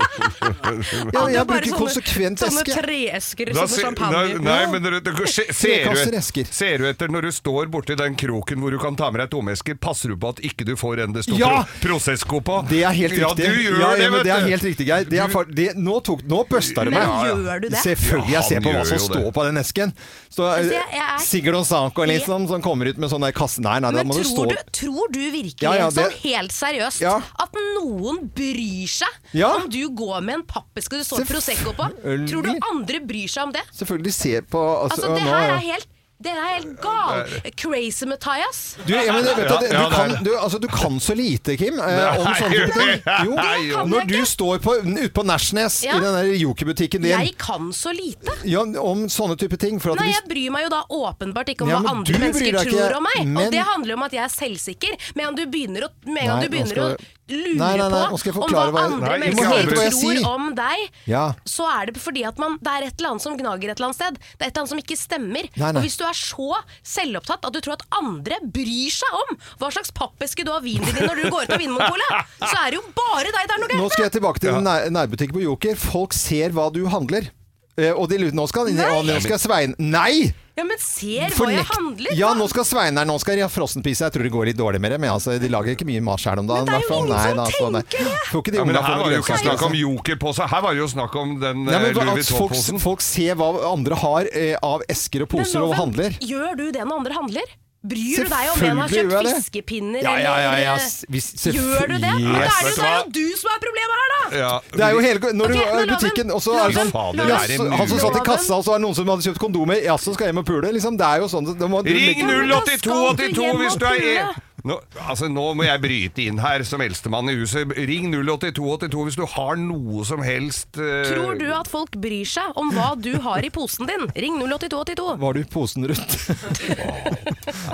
[SPEAKER 3] jeg jeg bruker konsekvent
[SPEAKER 4] sånne
[SPEAKER 3] eske.
[SPEAKER 4] treesker,
[SPEAKER 5] Da
[SPEAKER 4] sånne
[SPEAKER 5] se-
[SPEAKER 4] champagne.
[SPEAKER 5] Nei, nei, men du, du, se-
[SPEAKER 3] Trekasser
[SPEAKER 5] ser,
[SPEAKER 3] esker.
[SPEAKER 5] du, ser du etter når du står borti den kroken hvor du kan ta med deg tomesker, passer du på at ikke du får en det står
[SPEAKER 3] Ja!
[SPEAKER 5] pro- prosessko på?
[SPEAKER 3] Det er helt
[SPEAKER 5] Ja,
[SPEAKER 3] riktig.
[SPEAKER 5] du gjør
[SPEAKER 3] Ja, ja,
[SPEAKER 5] det,
[SPEAKER 3] men
[SPEAKER 5] vet
[SPEAKER 3] det er
[SPEAKER 5] du.
[SPEAKER 3] helt riktig, Geir. Det er
[SPEAKER 5] Du-
[SPEAKER 3] far- det, nå, tok, nå bøsta det
[SPEAKER 4] Men
[SPEAKER 3] meg.
[SPEAKER 4] gjør du det?
[SPEAKER 3] Selvfølgelig. Jeg
[SPEAKER 5] Ja,
[SPEAKER 3] ser på
[SPEAKER 5] han
[SPEAKER 3] hva
[SPEAKER 5] gjør
[SPEAKER 3] som
[SPEAKER 5] jo
[SPEAKER 3] står
[SPEAKER 5] det.
[SPEAKER 3] på den esken. Så,
[SPEAKER 4] Altså,
[SPEAKER 3] eh,
[SPEAKER 4] jeg- jeg er-
[SPEAKER 3] Sigurd Sanko liksom, som kommer ut med sånn der kasse... Nei, nei, da
[SPEAKER 4] Men
[SPEAKER 3] må du stå
[SPEAKER 4] tror du, tror du virkelig,
[SPEAKER 3] Ja, ja,
[SPEAKER 4] sånn
[SPEAKER 3] det-
[SPEAKER 4] helt seriøst,
[SPEAKER 3] Ja.
[SPEAKER 4] at noen bryr seg
[SPEAKER 3] Ja.
[SPEAKER 4] om du går med en pappeske det står
[SPEAKER 3] Selvfø-
[SPEAKER 4] Prosecco på? Tror du andre bryr seg om det?
[SPEAKER 3] Selvfølgelig se på altså,
[SPEAKER 4] Altså, det
[SPEAKER 3] nå-
[SPEAKER 4] her er helt det er helt gal. Crazy Mathias.
[SPEAKER 3] Du, ja, men, vet du,
[SPEAKER 5] Ja,
[SPEAKER 3] det- du,
[SPEAKER 5] ja, det er
[SPEAKER 3] kan, du, altså, du kan så lite, Kim, eh, om
[SPEAKER 5] Nei,
[SPEAKER 3] sånne ting. Jo,
[SPEAKER 5] nei, jo.
[SPEAKER 3] når du står på, ute på Nashnes
[SPEAKER 4] Ja.
[SPEAKER 3] i den der jokerbutikken din
[SPEAKER 4] Jeg kan så lite.
[SPEAKER 3] ja, om sånne type ting for at
[SPEAKER 4] Nei,
[SPEAKER 3] hvis-
[SPEAKER 4] jeg bryr meg jo da åpenbart ikke om
[SPEAKER 3] Ja, men
[SPEAKER 4] hva
[SPEAKER 3] du
[SPEAKER 4] andre
[SPEAKER 3] bryr
[SPEAKER 4] mennesker
[SPEAKER 3] deg ikke,
[SPEAKER 4] tror om meg.
[SPEAKER 3] men-
[SPEAKER 4] Og det handler jo om at jeg er selvsikker. Med en gang du begynner å, med en
[SPEAKER 3] Nei,
[SPEAKER 4] gang du
[SPEAKER 3] nå
[SPEAKER 4] begynner
[SPEAKER 3] skal-
[SPEAKER 4] å lure
[SPEAKER 3] Nei, nei, nei, nå skal jeg
[SPEAKER 4] på om hva
[SPEAKER 3] forklare hva jeg-
[SPEAKER 4] andre
[SPEAKER 5] Nei, ikke
[SPEAKER 4] mennesker
[SPEAKER 5] avbryt.
[SPEAKER 4] tror
[SPEAKER 3] Hva jeg sier.
[SPEAKER 4] om deg,
[SPEAKER 3] Ja.
[SPEAKER 4] så er det fordi at man, det er et eller annet som gnager et eller annet sted. Det er et eller annet som ikke stemmer.
[SPEAKER 3] Nei, nei.
[SPEAKER 4] Og hvis du er så selvopptatt at du tror at andre bryr seg om hva slags pappeske du har vinen din i når du går ut av Vinmonopolet, så er det jo bare deg det er noe
[SPEAKER 3] Nå
[SPEAKER 4] gærent
[SPEAKER 3] skal
[SPEAKER 4] med!
[SPEAKER 3] jeg tilbake til nær nærbutikken på Joker. Folk ser hva du handler. Eh, og de lurer Nå skal, han inn i- å, nå skal Svein Nei!
[SPEAKER 4] Ja, men ser hva jeg
[SPEAKER 3] Fornekt.
[SPEAKER 4] handler!
[SPEAKER 3] Ja,
[SPEAKER 4] da.
[SPEAKER 3] nå skal Sveinar Nå skal de ha frossenpizza. Jeg tror det går litt dårlig med det, men altså, de lager ikke mye mat sjøl om dagen.
[SPEAKER 4] Men det er jo
[SPEAKER 3] i hvert fall.
[SPEAKER 4] ingen som
[SPEAKER 3] altså, nei.
[SPEAKER 4] tenker det.
[SPEAKER 3] Får ikke de
[SPEAKER 5] Ja, men
[SPEAKER 3] unga
[SPEAKER 5] her
[SPEAKER 3] få
[SPEAKER 5] var det jo ikke
[SPEAKER 3] grønnsaker,
[SPEAKER 5] snakk om
[SPEAKER 3] altså.
[SPEAKER 5] jokerpose, her var det jo snakk om den
[SPEAKER 3] Nei,
[SPEAKER 5] eh,
[SPEAKER 3] men,
[SPEAKER 5] Louis
[SPEAKER 3] at folk,
[SPEAKER 5] Vuitton-posen.
[SPEAKER 3] folk ser hva andre har eh, av esker og
[SPEAKER 4] Men
[SPEAKER 3] poser og
[SPEAKER 4] Loven,
[SPEAKER 3] handler.
[SPEAKER 4] Gjør du det når andre handler? Bryr du deg om en har
[SPEAKER 3] Selvfølgelig
[SPEAKER 4] kjøpt
[SPEAKER 3] gjør jeg det.
[SPEAKER 4] fiskepinner,
[SPEAKER 3] Ja, ja, ja, ja,
[SPEAKER 4] eller, eh,
[SPEAKER 3] s- hvis- selvfø-
[SPEAKER 4] Gjør du det?
[SPEAKER 3] Yes,
[SPEAKER 4] det, er
[SPEAKER 5] vet
[SPEAKER 4] jo,
[SPEAKER 5] du
[SPEAKER 4] det er jo
[SPEAKER 5] hva?
[SPEAKER 4] du som er problemet her, da!
[SPEAKER 5] ja.
[SPEAKER 3] Det er jo
[SPEAKER 4] Ok,
[SPEAKER 3] hele, når Eh, du
[SPEAKER 4] men
[SPEAKER 3] er i
[SPEAKER 4] Loven,
[SPEAKER 3] butikken, og så er det
[SPEAKER 4] Loven,
[SPEAKER 3] sånn
[SPEAKER 4] Loven,
[SPEAKER 5] Fader, det er
[SPEAKER 3] Jaså,
[SPEAKER 5] en
[SPEAKER 3] han som satt i
[SPEAKER 4] altså, Loven.
[SPEAKER 3] kassa, og så var det noen som hadde kjøpt kondomer. Jaså, skal jeg hjem og pule? Liksom, det er jo sånn, da må du
[SPEAKER 5] Ring
[SPEAKER 3] legge-
[SPEAKER 4] men da skal du
[SPEAKER 5] 08282
[SPEAKER 4] hjem
[SPEAKER 5] hvis
[SPEAKER 4] og
[SPEAKER 5] du er
[SPEAKER 4] pulle.
[SPEAKER 5] en... Nå, altså, nå må jeg bryte inn her som eldstemann i huset. Ring 08282 hvis du har noe som helst eh,
[SPEAKER 4] Tror du at folk bryr seg om hva du har i posen din? Ring 08282.
[SPEAKER 3] Var du i posen rundt?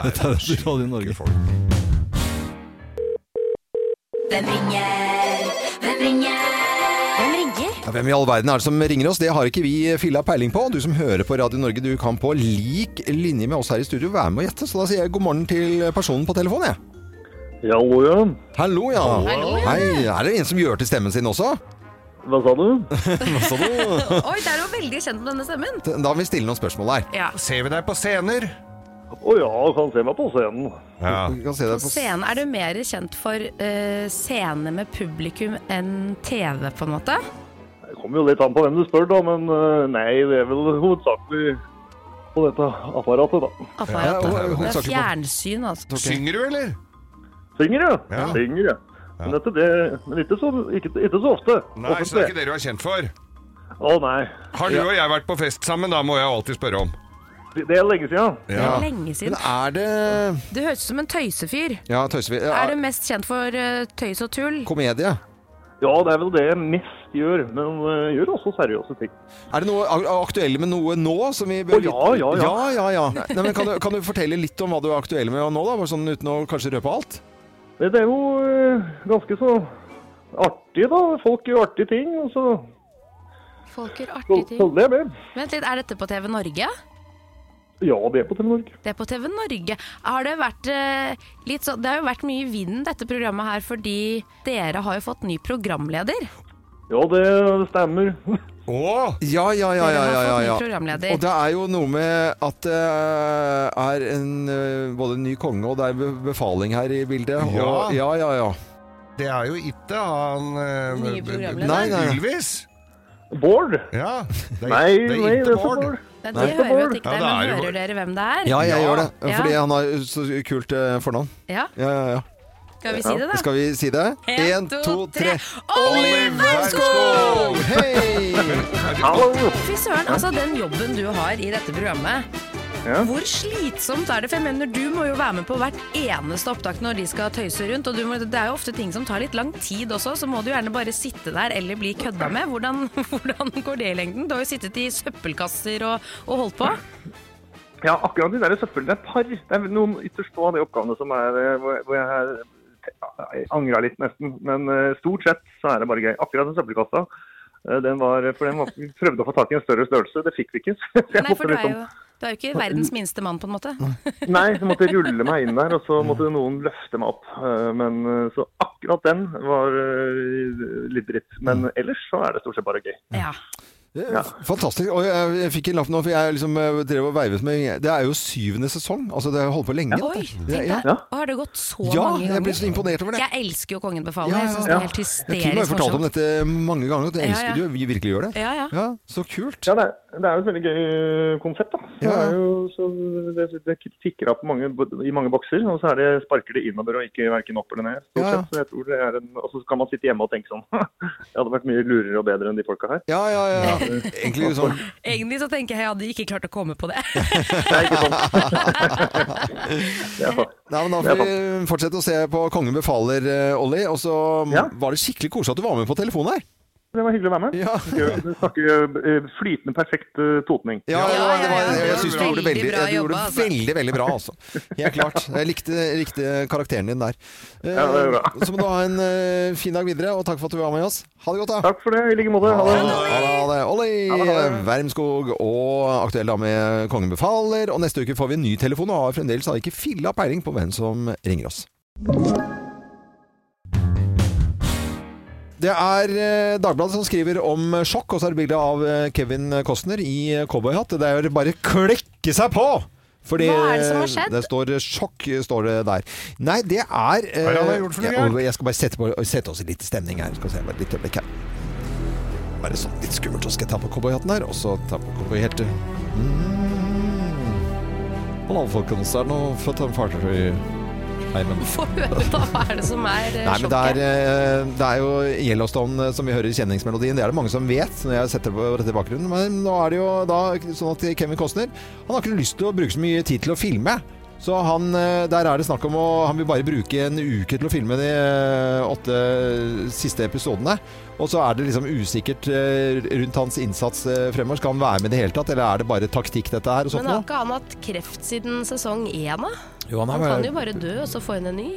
[SPEAKER 3] Dette er Radio Norge.
[SPEAKER 10] Hvem ringer? Hvem ringer? Hvem ringer?
[SPEAKER 3] Ja, Hvem i all verden er det som ringer oss? Det har ikke vi filla peiling på. Du som hører på Radio Norge, du kan på lik linje med oss her i studio være med og gjette. Så da sier jeg god morgen til personen på telefonen, jeg.
[SPEAKER 11] Hallo, ja.
[SPEAKER 3] Hallo, ja. Hei, er det en som gjør til stemmen sin også?
[SPEAKER 11] Hva sa du?
[SPEAKER 4] Oi, det er jo veldig kjent med denne stemmen.
[SPEAKER 3] Da må vi stille noen spørsmål her.
[SPEAKER 4] Ja.
[SPEAKER 5] Ser vi deg på scener?
[SPEAKER 11] Å ja, kan se meg på scenen.
[SPEAKER 5] Ja.
[SPEAKER 3] Vi kan se deg på
[SPEAKER 4] Scene, er du mer kjent for eh, scene med publikum enn TV, på en måte?
[SPEAKER 11] Det kommer jo litt an på hvem du spør, da, men eh, nei, det er vel hovedsakelig på dette apparatet, da.
[SPEAKER 3] Ja,
[SPEAKER 4] Apparatet.
[SPEAKER 3] og- og-
[SPEAKER 4] Det er
[SPEAKER 3] saker på-
[SPEAKER 4] fjernsyn, altså.
[SPEAKER 5] Synger du, eller?
[SPEAKER 11] Synger, ja.
[SPEAKER 5] Ja.
[SPEAKER 11] Synger, ja. Men, dette, det, men ikke, så, ikke, ikke så ofte.
[SPEAKER 5] Nei, så det er ikke det du er kjent for.
[SPEAKER 11] Å nei.
[SPEAKER 5] Har du og jeg vært på fest sammen, da må jeg alltid spørre om.
[SPEAKER 11] Det er lenge siden.
[SPEAKER 4] Ja. Lenge siden.
[SPEAKER 3] Men er det
[SPEAKER 4] Du høres ut som en tøysefyr.
[SPEAKER 3] Ja, tøyser vi.
[SPEAKER 4] Er
[SPEAKER 3] Ja,
[SPEAKER 4] du mest kjent for eh, tøys og tull?
[SPEAKER 3] komedie?
[SPEAKER 11] Ja, det er vel det jeg mest gjør, men eh, gjør også seriøse ting.
[SPEAKER 3] Er det noe ak- aktuelle med noe nå som vi bør
[SPEAKER 11] Å, ja, ja, ja.
[SPEAKER 3] ja, ja, ja. Nei, men kan, du, kan du fortelle litt om hva du er aktuell med nå, da? Bare sånn uten å kanskje røpe alt?
[SPEAKER 11] Men Det er jo eh, ganske så artig, da. Folk gjør artige ting, og så
[SPEAKER 4] Folk gjør
[SPEAKER 11] så-
[SPEAKER 4] artige ting.
[SPEAKER 11] så det er det.
[SPEAKER 4] Vent litt, er dette på TV Norge?
[SPEAKER 11] Ja, det er på Telemark.
[SPEAKER 4] Det er på TV Norge. Har det, vært, eh, litt så, det har jo vært mye i vinden dette programmet her, fordi dere har jo fått ny programleder.
[SPEAKER 11] Ja, det stemmer.
[SPEAKER 5] Å!
[SPEAKER 3] Ja, ja, ja. ja, ja, ja,
[SPEAKER 4] Dere har fått ny
[SPEAKER 3] ja.
[SPEAKER 4] programleder.
[SPEAKER 3] Og det er jo noe med at det er en, eh, både en ny konge og det er be- befaling her i bildet.
[SPEAKER 5] Ja.
[SPEAKER 3] Og, ja, ja, ja.
[SPEAKER 5] Det er jo ikke han eh,
[SPEAKER 4] Nye programleder.
[SPEAKER 3] Nei, nei.
[SPEAKER 5] Ylvis.
[SPEAKER 11] Bård?
[SPEAKER 5] Ja. Det
[SPEAKER 11] Nei,
[SPEAKER 5] er, det er
[SPEAKER 11] nei, det
[SPEAKER 5] ikke
[SPEAKER 11] er for
[SPEAKER 5] Bård.
[SPEAKER 11] Bård.
[SPEAKER 4] Det,
[SPEAKER 3] Nei.
[SPEAKER 4] det hører vi jo ikke, der,
[SPEAKER 5] Ja, det er
[SPEAKER 4] men
[SPEAKER 5] jo-
[SPEAKER 4] hører dere hvem det er?
[SPEAKER 3] Ja, jeg
[SPEAKER 5] Ja.
[SPEAKER 3] gjør det. Fordi
[SPEAKER 4] Ja.
[SPEAKER 3] han har så kult eh, fornavn.
[SPEAKER 4] Ja,
[SPEAKER 3] Ja, ja, ja.
[SPEAKER 4] Skal vi si det, da?
[SPEAKER 3] Skal vi si det?
[SPEAKER 4] En,
[SPEAKER 3] En,
[SPEAKER 4] to,
[SPEAKER 3] to, tre.
[SPEAKER 5] Oliver Skog!
[SPEAKER 3] Hei!
[SPEAKER 11] Hallo!
[SPEAKER 4] Fy søren, altså den jobben du har i dette programmet.
[SPEAKER 11] Ja.
[SPEAKER 4] Hvor slitsomt er det? For jeg mener, Du må jo være med på hvert eneste opptak når de skal tøyse rundt. Og du må, det er jo ofte ting som tar litt lang tid også, så må du gjerne bare sitte der eller bli kødda med. Hvordan, hvordan går det i lengden? Du har jo sittet i søppelkasser og, og holdt på.
[SPEAKER 11] Ja, akkurat de der søppelene er par. Det er noen ytterst få av de oppgavene som er eh, hvor hvor jeg er jeg angrer litt nesten, men eh, stort sett så er det bare gøy. Akkurat den søppelkassa, eh, den var, for den var, vi prøvde å få tak i en større størrelse, det fikk vi ikke. Så jeg
[SPEAKER 4] Nei, for du
[SPEAKER 11] måtte
[SPEAKER 4] er
[SPEAKER 11] liksom,
[SPEAKER 4] jo du er jo ikke verdens minste mann, på en måte.
[SPEAKER 11] nei, så måtte jeg rulle meg inn der, og så måtte noen løfte meg opp. Eh, Men eh, så akkurat den var eh, litt dritt. Men ellers så er det stort sett bare gøy.
[SPEAKER 4] Ja.
[SPEAKER 11] Ja.
[SPEAKER 3] Fantastisk. Og jeg, jeg fikk en lapp nå, for jeg liksom eh, drev og veivet med Det er jo syvende sesong. Altså, det har holdt på lenge.
[SPEAKER 4] Oi,
[SPEAKER 3] dette.
[SPEAKER 4] tenk
[SPEAKER 3] ja.
[SPEAKER 4] deg. Og har det gått så
[SPEAKER 3] ja,
[SPEAKER 4] mange
[SPEAKER 3] jeg ble
[SPEAKER 4] ganger?
[SPEAKER 3] så imponert over det.
[SPEAKER 4] Jeg elsker jo Kongen befaler.
[SPEAKER 3] Ja,
[SPEAKER 4] Jeg syns
[SPEAKER 3] ja,
[SPEAKER 4] det
[SPEAKER 3] ja.
[SPEAKER 4] er helt
[SPEAKER 3] Jeg tror jeg har
[SPEAKER 4] hysterisk
[SPEAKER 3] fortalt om
[SPEAKER 4] morsomt.
[SPEAKER 3] dette mange ganger, at jeg
[SPEAKER 4] Ja,
[SPEAKER 3] elsker
[SPEAKER 4] ja.
[SPEAKER 3] det. Vi virkelig gjør det.
[SPEAKER 4] Ja, ja.
[SPEAKER 3] Ja, så kult.
[SPEAKER 11] Ja, det er, det er jo et veldig gøy eh, konsept. da. Det,
[SPEAKER 3] Ja.
[SPEAKER 11] er jo, så det, det tikker av på mange, i mange bokser, og så er det, sparker det innover og ikke hverken opp eller ned. stort
[SPEAKER 3] Ja, ja.
[SPEAKER 11] sett. Så jeg tror det er en, og så kan man sitte hjemme og tenke sånn Det hadde vært mye lurere og bedre enn de folka her.
[SPEAKER 3] Ja, ja, ja. Egentlig sånn
[SPEAKER 4] Egentlig så tenker jeg jeg hadde ikke klart å komme på det.
[SPEAKER 11] Det er sant.
[SPEAKER 3] Nei, men Da får vi fortsette å se på Kongen befaler, eh, Olli. Og så
[SPEAKER 11] Ja.
[SPEAKER 3] var det skikkelig koselig at du var med på telefonen her.
[SPEAKER 11] Det var hyggelig å være med.
[SPEAKER 3] Ja.
[SPEAKER 11] Gøy. Du snakker eh, flytende perfekt eh, totning.
[SPEAKER 3] Ja, det var, det var,
[SPEAKER 5] ja, ja.
[SPEAKER 3] jeg, jeg syns du gjorde det veldig,
[SPEAKER 4] Veldig bra
[SPEAKER 3] jeg, du gjorde
[SPEAKER 4] jobba,
[SPEAKER 3] det
[SPEAKER 4] altså.
[SPEAKER 3] veldig, veldig bra. Altså. Helt klart. Jeg likte, likte karakteren din der. Eh,
[SPEAKER 11] Ja, det er bra.
[SPEAKER 3] Så må du ha en eh, fin dag videre, og takk for at du var med oss. Ha det godt, da.
[SPEAKER 11] Takk for det. I like måte. Ha det.
[SPEAKER 3] Ha det, ha det.
[SPEAKER 11] Ha det, ha
[SPEAKER 3] Olli
[SPEAKER 11] det.
[SPEAKER 3] Wermskog og aktuell dame Kongen befaler. Og neste uke får vi en ny telefon, og har fremdeles har ikke filla peiling på hvem som ringer oss. Det er eh, Dagbladet som skriver om eh, sjokk, og så er det bilde av eh, Kevin Costner i eh, cowboyhatt. Det er bare klekke seg på! Fordi,
[SPEAKER 4] Hva er det som har
[SPEAKER 3] eh,
[SPEAKER 4] skjedd?
[SPEAKER 3] Det står eh, sjokk eh, står det der. Nei, det er eh,
[SPEAKER 5] Hva er det han har gjort for noe
[SPEAKER 3] ja,
[SPEAKER 5] gærent?
[SPEAKER 3] Jeg skal bare sette, på, sette oss i litt stemning her. Skal vi se, bare litt øyeblikk her. Bare sånn litt skummelt, så skal jeg ta på cowboyhatten her, og så ta på Mm. cowboyhjertet. Mm. Hallo, folkens. Det er noe født en fartøy i heimen.
[SPEAKER 4] Få høre da, hva er det som er eh,
[SPEAKER 3] Nei, men det er,
[SPEAKER 4] sjokket?
[SPEAKER 3] eh, det er jo Yellowstone eh, som vi hører i kjenningsmelodien. Det er det mange som vet når jeg setter på dette i bakgrunnen. Men nå er det jo da sånn at Kevin Costner Han har ikke lyst til å bruke så mye tid til å filme. Så han, eh, der er det snakk om å Han vil bare bruke en uke til å filme de eh, åtte siste episodene. Og så er det liksom usikkert eh, rundt hans innsats eh, fremover. Skal han være med i det hele tatt, eller er det bare taktikk dette her? Og sånt
[SPEAKER 4] Men har
[SPEAKER 3] eh, nå?
[SPEAKER 4] ikke han hatt kreft siden sesong én, da?
[SPEAKER 3] Jo,
[SPEAKER 4] Han kan jo bare dø, og så få inn en ny.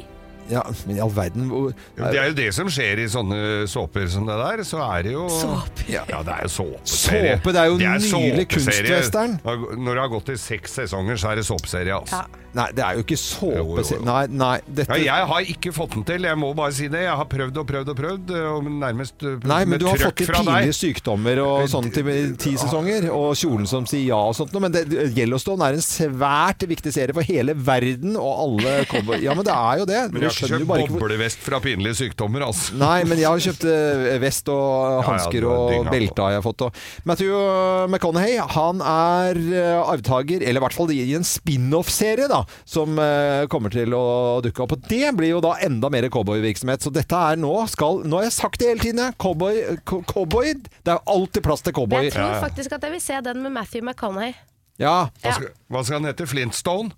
[SPEAKER 3] Ja, men i all verden hvor-
[SPEAKER 5] Jo, Det er jo det som skjer i sånne såper som det der. Så er det jo Såper? Ja, det er jo såpeserie.
[SPEAKER 3] Såpe, det er jo
[SPEAKER 5] en
[SPEAKER 3] nydelig
[SPEAKER 5] såpeserie.
[SPEAKER 3] kunstwestern.
[SPEAKER 5] Når det har gått i seks sesonger, så er det såpeserie, altså. Ja.
[SPEAKER 3] Nei, det er jo ikke
[SPEAKER 5] Jo, jo,
[SPEAKER 3] såpe...
[SPEAKER 5] jo.
[SPEAKER 3] Nei, nei. Dette
[SPEAKER 5] jeg har ikke fått den til, jeg må bare si det. Jeg har prøvd og prøvd og prøvd, og nærmest øh,
[SPEAKER 3] Nei, men
[SPEAKER 5] med
[SPEAKER 3] du har
[SPEAKER 5] trøkk
[SPEAKER 3] fått til
[SPEAKER 5] fra deg.
[SPEAKER 3] pinlige sykdommer og sånn til ti sesonger, og kjolen som sier ja og sånt noe, men det, Yellowstone er en svært viktig serie for hele verden, og alle kommer Ja, men det er jo det.
[SPEAKER 5] Men
[SPEAKER 3] Du
[SPEAKER 5] jeg har ikke
[SPEAKER 3] skjønner jo
[SPEAKER 5] kjøpt
[SPEAKER 3] bare ikke hvor-
[SPEAKER 5] boblevest fra pinlige sykdommer, altså.
[SPEAKER 3] Nei, men jeg har kjøpt eh, vest og
[SPEAKER 5] Ja, ja,
[SPEAKER 3] hansker
[SPEAKER 5] du har
[SPEAKER 3] og
[SPEAKER 5] dynga på.
[SPEAKER 3] belte har jeg fått. Og. Matthew eh, McConaughey, han er eh, arvtaker, eller i hvert fall i en spin-off-serie da, som eh, kommer til å dukke opp. Og det blir jo da enda mer cowboyvirksomhet. Så dette er nå skal Nå har jeg sagt det hele tiden, jeg. Cowboy, co- cowboy Det er jo alltid plass til
[SPEAKER 4] Men
[SPEAKER 3] cowboy.
[SPEAKER 4] jeg tror faktisk at jeg vil se den med Matthew McConaughey.
[SPEAKER 3] Ja.
[SPEAKER 5] Hva skal, hva skal han hete? Flintstone?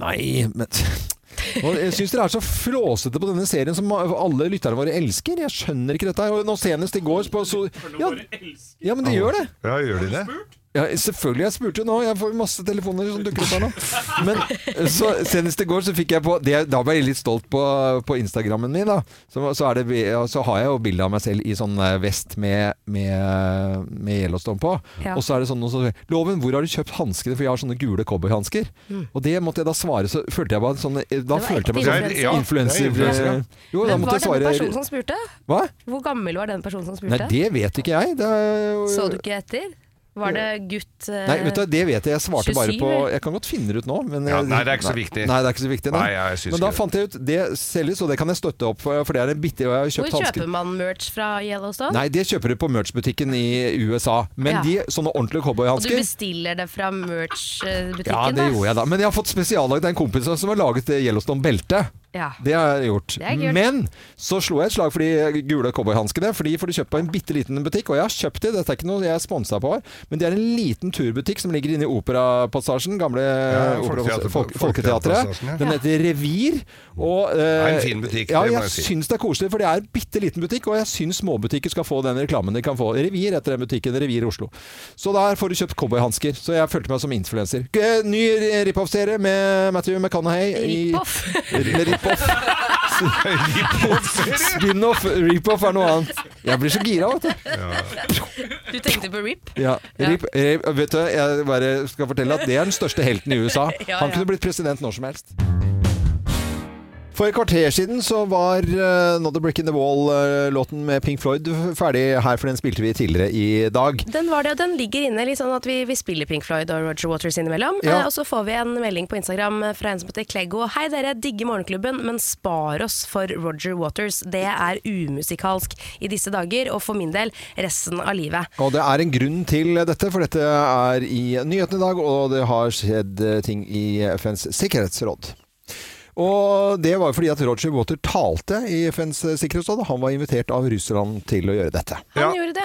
[SPEAKER 3] Nei, men og Jeg syns dere er så flåsete på denne serien som alle lytterne våre elsker. Jeg skjønner ikke dette. her. Og nå senest i går på so ja, ja, men de gjør det.
[SPEAKER 5] Ja, gjør de det?
[SPEAKER 3] Ja, selvfølgelig. Jeg spurte jo nå. Jeg får masse telefoner som dukker opp her nå. Men eh, så senest i går så fikk jeg på det, Da ble jeg litt stolt på, på Instagrammen min, da. Så, så, er det, ja, så har jeg jo bilde av meg selv i sånn eh, vest med, med, med Yellowstone på.
[SPEAKER 12] Ja.
[SPEAKER 3] Og så er det sånn noe som sier, Loven, hvor har du kjøpt hanskene? For jeg har sånne gule cowboyhansker.
[SPEAKER 12] Mm.
[SPEAKER 3] Og det måtte jeg da svare, så følte jeg bare sånn eh, Da
[SPEAKER 4] Det var
[SPEAKER 3] følte jeg meg
[SPEAKER 4] ekte
[SPEAKER 3] sånn
[SPEAKER 4] influenser. Ja,
[SPEAKER 3] influenser.
[SPEAKER 4] det er influenser, ja.
[SPEAKER 3] eh, Jo, da
[SPEAKER 4] Men
[SPEAKER 3] måtte
[SPEAKER 4] var
[SPEAKER 3] jeg
[SPEAKER 4] den personen
[SPEAKER 3] svare
[SPEAKER 4] som spurte?
[SPEAKER 3] Hva?
[SPEAKER 4] Hvor gammel var den personen som
[SPEAKER 3] Nei,
[SPEAKER 4] spurte?
[SPEAKER 3] det vet ikke jeg. Det er jo
[SPEAKER 4] Så du ikke etter? Var det gutt eh,
[SPEAKER 3] Nei, vet du, hva, det vet jeg. Jeg svarte bare
[SPEAKER 4] 27,
[SPEAKER 3] på
[SPEAKER 4] eller?
[SPEAKER 3] Jeg kan godt finne det ut nå, men
[SPEAKER 5] Ja,
[SPEAKER 3] jeg-
[SPEAKER 5] nei, det er ikke så viktig.
[SPEAKER 3] Nei, det er ikke så viktig.
[SPEAKER 5] Nei, jeg syns
[SPEAKER 3] men da
[SPEAKER 5] ikke det.
[SPEAKER 3] fant jeg ut Det selges, og det kan jeg støtte opp for, for det er en bitte og jeg har
[SPEAKER 4] Hvor
[SPEAKER 3] kjøpt hansker.
[SPEAKER 4] kjøper man merch fra Yellowstone?
[SPEAKER 3] Nei, det kjøper du på merch-butikken i USA. Men
[SPEAKER 4] Ja.
[SPEAKER 3] de sånne ordentlige
[SPEAKER 4] Og du
[SPEAKER 3] cowboyhansker
[SPEAKER 4] bestiller det fra eh, merch-butikken?
[SPEAKER 3] Ja, det gjorde jeg da. Men jeg har fått spesiallagd en kompis som har laget det Yellowstone-beltet.
[SPEAKER 4] Ja.
[SPEAKER 3] Det har jeg gjort.
[SPEAKER 4] Det er kult.
[SPEAKER 3] Men så slo jeg et slag for de eh, gule cowboyhanskene. For de får du kjøpt på en bitte liten butikk. Og jeg har kjøpt de, dette er ikke noe jeg er sponsa på. Men det er en liten turbutikk som ligger inne i Operapassasjen. Gamle eh,
[SPEAKER 5] Ja,
[SPEAKER 3] opera-
[SPEAKER 5] Folketeater-
[SPEAKER 3] folk, Folketeatret.
[SPEAKER 5] Folketeaterpassasjen, ja.
[SPEAKER 3] Den heter Revir. Og,
[SPEAKER 5] er en
[SPEAKER 3] eh,
[SPEAKER 5] fin butikk,
[SPEAKER 3] Ja,
[SPEAKER 5] det må
[SPEAKER 3] jeg
[SPEAKER 5] jeg si.
[SPEAKER 3] syns det er koselig, for det er en bitte liten butikk. Og jeg syns småbutikker skal få den reklamen de kan få. Revir etter den butikken. Revir Oslo. Så der får du kjøpt cowboyhansker. Så jeg følte meg som influenser. Ny rip-off-serie med Matthew McConaughey. i-
[SPEAKER 4] Rip-off?
[SPEAKER 3] Rip-off. Spin-off, rip-off er noe annet. Jeg blir så gira, vet du.
[SPEAKER 4] Du tenkte på RIP?
[SPEAKER 3] Ja, rip, rip, vet du. Jeg bare skal fortelle at det er den største helten i USA.
[SPEAKER 4] Ja,
[SPEAKER 3] Han
[SPEAKER 4] ja.
[SPEAKER 3] kunne blitt president når som helst. For et kvarter siden så var eh, Not a Brick in the Wall-låten med Pink Floyd ferdig her, for den spilte vi tidligere i dag.
[SPEAKER 4] Den var det, og den ligger inne litt sånn at vi, vi spiller Pink Floyd og Roger Waters innimellom.
[SPEAKER 3] Ja.
[SPEAKER 4] Eh, og så får vi en melding på Instagram eh, fra en som heter Kleggo. Hei dere, digger Morgenklubben, men spar oss for Roger Waters. Det er umusikalsk i disse dager, og for min del resten av livet.
[SPEAKER 3] Og det er en grunn til dette, for dette er i nyhetene i dag, og det har skjedd eh, ting i FNs sikkerhetsråd. Og det var jo fordi at Roger Water talte i FNs sikkerhetsråd, og han var invitert av Russland til å gjøre dette.
[SPEAKER 4] Han gjorde det.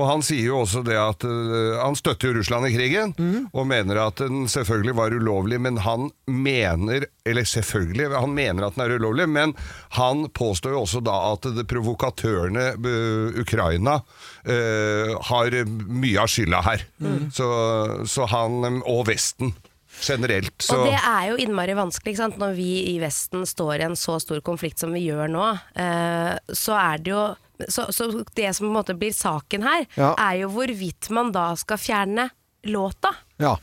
[SPEAKER 5] Og han sier jo også det at øh, han støtter jo Russland i krigen,
[SPEAKER 3] Mhm.
[SPEAKER 5] og mener at den selvfølgelig var ulovlig, men han mener Eller selvfølgelig, han mener at den er ulovlig, men han påstår jo også da at det provokatørene øh, Ukraina øh, har mye av skylda her.
[SPEAKER 4] Mm.
[SPEAKER 5] Så, så han øhm, Og Vesten generelt. Så
[SPEAKER 4] Og det er jo innmari vanskelig, ikke sant? når vi i Vesten står i en så stor konflikt som vi gjør nå, eh, så er det jo så, så det som på en måte blir saken her,
[SPEAKER 3] Ja.
[SPEAKER 4] er jo hvorvidt man da skal fjerne låta.
[SPEAKER 3] Ja.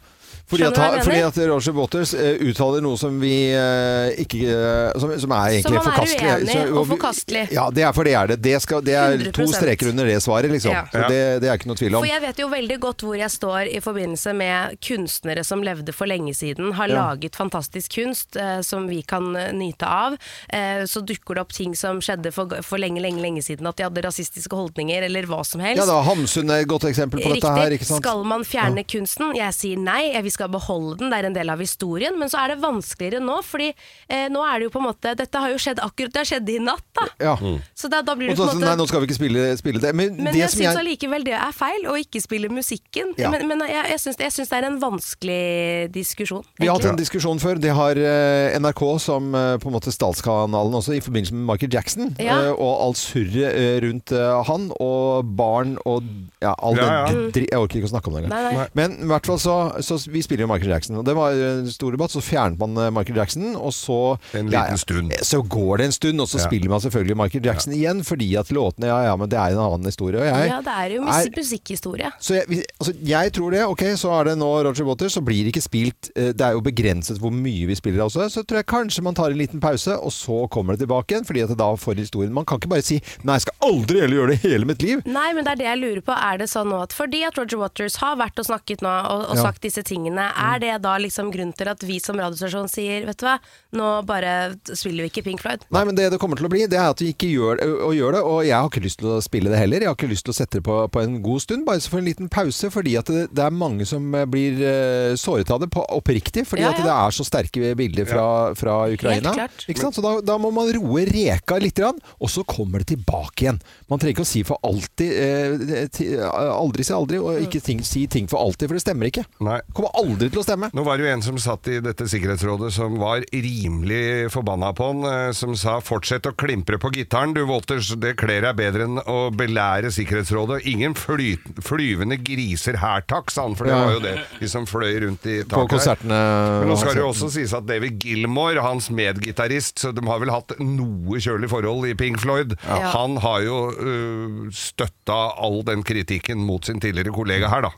[SPEAKER 3] Fordi
[SPEAKER 4] Skjønner
[SPEAKER 3] at,
[SPEAKER 4] du hva jeg
[SPEAKER 3] fordi
[SPEAKER 4] mener?
[SPEAKER 3] at Roger Waters eh, uttaler noe som vi eh, ikke eh, som, som er
[SPEAKER 4] Som
[SPEAKER 3] egentlig
[SPEAKER 4] han er
[SPEAKER 3] forkastelig.
[SPEAKER 4] uenig
[SPEAKER 3] Så-
[SPEAKER 4] og
[SPEAKER 3] vi-
[SPEAKER 4] forkastelig.
[SPEAKER 3] Ja, det er for det er det. Det, skal, det er to
[SPEAKER 4] 100%.
[SPEAKER 3] streker under det svaret, liksom.
[SPEAKER 4] Ja.
[SPEAKER 3] Så det, det er ikke noe tvil om.
[SPEAKER 4] For jeg vet jo veldig godt hvor jeg står i forbindelse med kunstnere som levde for lenge siden, har
[SPEAKER 3] Ja.
[SPEAKER 4] laget fantastisk kunst eh, som vi kan eh, nyte av. Eh, så dukker det opp ting som skjedde for, for lenge, lenge, lenge siden, at de hadde rasistiske holdninger eller hva som helst.
[SPEAKER 3] Ja da, Hamsun er et godt eksempel på dette
[SPEAKER 4] Riktig.
[SPEAKER 3] her. ikke sant?
[SPEAKER 4] Skal man fjerne kunsten? Jeg sier nei, jeg- vi skal beholde den, det er en del av historien. Men så er det vanskeligere nå, fordi eh, nå er det jo på en måte Dette har jo skjedd akkurat Det har skjedd i natt, da.
[SPEAKER 3] Ja.
[SPEAKER 4] Så da, da blir
[SPEAKER 3] Og
[SPEAKER 4] det
[SPEAKER 3] så,
[SPEAKER 4] på
[SPEAKER 3] så,
[SPEAKER 4] en
[SPEAKER 3] nei, nå
[SPEAKER 4] måte
[SPEAKER 3] skal vi ikke spille, spille det. Men,
[SPEAKER 4] men
[SPEAKER 3] det
[SPEAKER 4] jeg
[SPEAKER 3] som
[SPEAKER 4] syns
[SPEAKER 3] jeg
[SPEAKER 4] allikevel det er feil, å ikke spille musikken.
[SPEAKER 3] Ja.
[SPEAKER 4] Men, men jeg, jeg syns jeg syns det er en vanskelig diskusjon.
[SPEAKER 3] Vi har hatt en
[SPEAKER 4] egentlig.
[SPEAKER 3] diskusjon før. Det har eh, NRK som eh, på en måte statskanalen også, i forbindelse med Michael Jackson.
[SPEAKER 4] Ja.
[SPEAKER 3] eh, og alt surret eh, rundt eh, han og barn og ja, all
[SPEAKER 5] Ja,
[SPEAKER 3] den
[SPEAKER 5] ja.
[SPEAKER 3] dri- Jeg orker ikke å snakke om det
[SPEAKER 4] Nei, nei.
[SPEAKER 3] engang. Men i hvert fall så, så Vi spiller jo Michael Jackson, og det var eh, en stor debatt. Så fjernet man eh, Michael Jackson, og så
[SPEAKER 5] En
[SPEAKER 3] Ja, ja.
[SPEAKER 5] liten stund.
[SPEAKER 3] Så går det en stund, og så
[SPEAKER 5] Ja.
[SPEAKER 3] spiller man selvfølgelig Michael Jackson igjen, fordi at låtene Ja ja, men det er en annen historie. Og jeg
[SPEAKER 4] Ja, det er jo
[SPEAKER 3] er-
[SPEAKER 4] musik musikkhistorie.
[SPEAKER 3] så jeg, vi- altså, jeg tror det. Ok, så er det nå Roger Waters, så blir det ikke spilt eh, Det er jo begrenset hvor mye vi spiller også. Så tror jeg kanskje man tar en liten pause, og så kommer det tilbake igjen. Fordi at det da får historien Man kan ikke bare si 'nei, jeg skal aldri heller gjøre det hele mitt liv'.
[SPEAKER 4] Nei, men det er det jeg lurer på. Er det sånn nå at fordi at Roger Waters har vært og snakket nå og, og
[SPEAKER 3] Ja. Mm.
[SPEAKER 4] sagt disse tingene, er det da liksom grunn til at vi som radiostasjon sier vet du hva, nå bare spiller vi ikke Pink Floyd?
[SPEAKER 3] Nei, men det det kommer til å bli, det er at vi ikke gjør, å, å gjør det. Og jeg har ikke lyst til å spille det heller. Jeg har ikke lyst til å sette det på, på en god stund, bare så for en liten pause. Fordi at det, det er mange som eh, blir eh, såret av det på, oppriktig. Fordi
[SPEAKER 4] Ja,
[SPEAKER 3] at
[SPEAKER 4] ja.
[SPEAKER 3] det er så sterke bilder fra, fra Ukraina.
[SPEAKER 4] Helt klart.
[SPEAKER 3] Ikke sant? Så da, da må man roe reka litt, grann, og så kommer det tilbake igjen. Man trenger ikke å si for
[SPEAKER 4] Mm.
[SPEAKER 3] alltid eh, ti, Aldri si aldri, og ikke ting, si ting for alltid, for det stemmer ikke.
[SPEAKER 5] Nei.
[SPEAKER 3] Kommer aldri til å stemme.
[SPEAKER 5] Nå var det jo en som satt i dette sikkerhetsrådet som var rimelig forbanna på han, eh, som sa 'fortsett å klimpre på gitaren, du Walters, det kler deg bedre enn å belære Sikkerhetsrådet'. Ingen fly, flyvende griser her, takk, sa han, for det
[SPEAKER 3] Ja.
[SPEAKER 5] var jo det de som fløy rundt i taket.
[SPEAKER 3] På
[SPEAKER 5] her.
[SPEAKER 3] konsertene. altså.
[SPEAKER 5] Men nå skal det jo også sies at David Gilmore, hans medgitarist, så de har vel hatt noe kjølig forhold i Pink Floyd.
[SPEAKER 3] Ja.
[SPEAKER 5] Han har jo øh, støtta all den kritikken mot sin tidligere kollega her, da.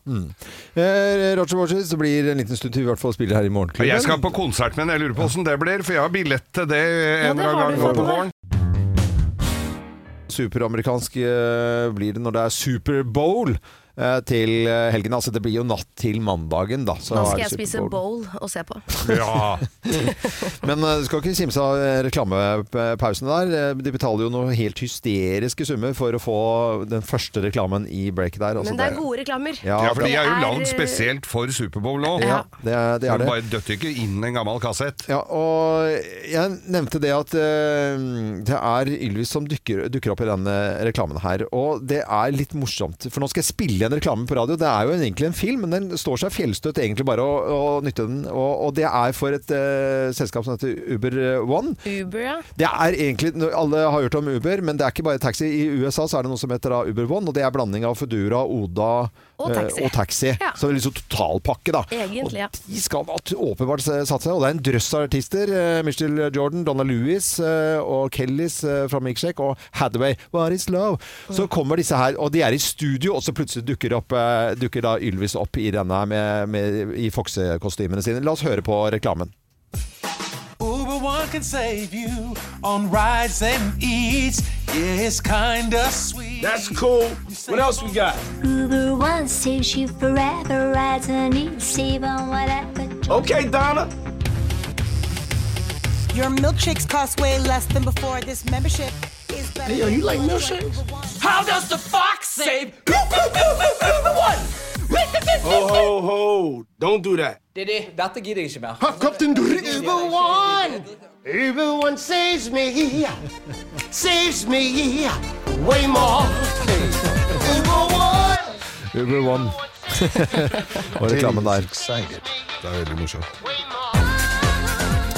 [SPEAKER 3] Eh, Roger Waters blir en liten stund til vi i hvert fall spiller her i
[SPEAKER 5] Og
[SPEAKER 3] morgenklubben.
[SPEAKER 5] Jeg skal på konsert med henne, jeg lurer på åssen det blir, for jeg har billett til det en eller annen gang nå på våren.
[SPEAKER 3] Superamerikansk eh, blir det når det er Superbowl eh, til eh, helgen. Altså det blir jo natt til mandagen, da. så
[SPEAKER 4] Da skal
[SPEAKER 3] er det Altså,
[SPEAKER 4] jeg spise
[SPEAKER 3] Super Bowl.
[SPEAKER 4] bowl og se på.
[SPEAKER 3] Men eh, du skal ikke kimse av eh, reklamepausene der. Eh, De betaler jo noen helt hysteriske summer for å få den første reklamen i breaket der. altså
[SPEAKER 4] Men det er gode reklamer.
[SPEAKER 3] Ja,
[SPEAKER 5] Ja, for de
[SPEAKER 3] det
[SPEAKER 5] er jo
[SPEAKER 4] er- eh,
[SPEAKER 5] lagd spesielt for Superbowl nå.
[SPEAKER 3] Ja, det er det. Er
[SPEAKER 5] De
[SPEAKER 3] det.
[SPEAKER 5] bare døtter ikke inn en gammel kassett.
[SPEAKER 3] Ja, og jeg nevnte det at eh, det er Ylvis som dukker, dukker opp i denne reklamen her. Og det er litt morsomt, for nå skal jeg spille en reklame på radio. Det er jo en, egentlig en film, men den står seg fjellstøtt egentlig bare å, å nytte den. Og, og det er for et eh, selskap som heter Uber One.
[SPEAKER 4] Uber, ja.
[SPEAKER 3] Det er egentlig, Alle har hørt om Uber, men det er ikke bare taxi. I USA så er det noe som heter da Uber One, og det er blanding av Foodora, Oda
[SPEAKER 4] Og
[SPEAKER 3] eh,
[SPEAKER 4] taxi.
[SPEAKER 3] og taxi.
[SPEAKER 4] Ja.
[SPEAKER 3] Så det er liksom totalpakke, da.
[SPEAKER 4] Egentlig, ja.
[SPEAKER 3] Og de skal at- åpenbart satse, og det er en drøss av artister. eh, Michelle Jordan, Donna Lewis eh, og Kellys eh, fra Milkshake og Hathaway. What is love?
[SPEAKER 4] Mm.
[SPEAKER 3] Så kommer disse her, og de er i studio, og så plutselig dukker, opp, eh, dukker da Ylvis opp i denne her med, med, i Foxe-kostymene sine. La oss høre på reklamen.
[SPEAKER 12] Uber One can save you on rides and eats. Yeah, it's kinda sweet. That's cool. What else we got?
[SPEAKER 10] Uber One saves you forever as an eat, save on whatever.
[SPEAKER 12] Okay, Donna.
[SPEAKER 13] Your milkshakes cost way less than before. This membership is better.
[SPEAKER 12] Yo, you like milkshakes? How does the fox save Uber One? Ho, ho, ho. Don't do that.
[SPEAKER 14] Det er det. Dette gidder jeg ikke mer.
[SPEAKER 12] Captain
[SPEAKER 14] Uber One! Uber One saves me here. Saves me here. Way more. Uber One!
[SPEAKER 3] Uber One. og reklamen der.
[SPEAKER 5] Det er veldig morsomt.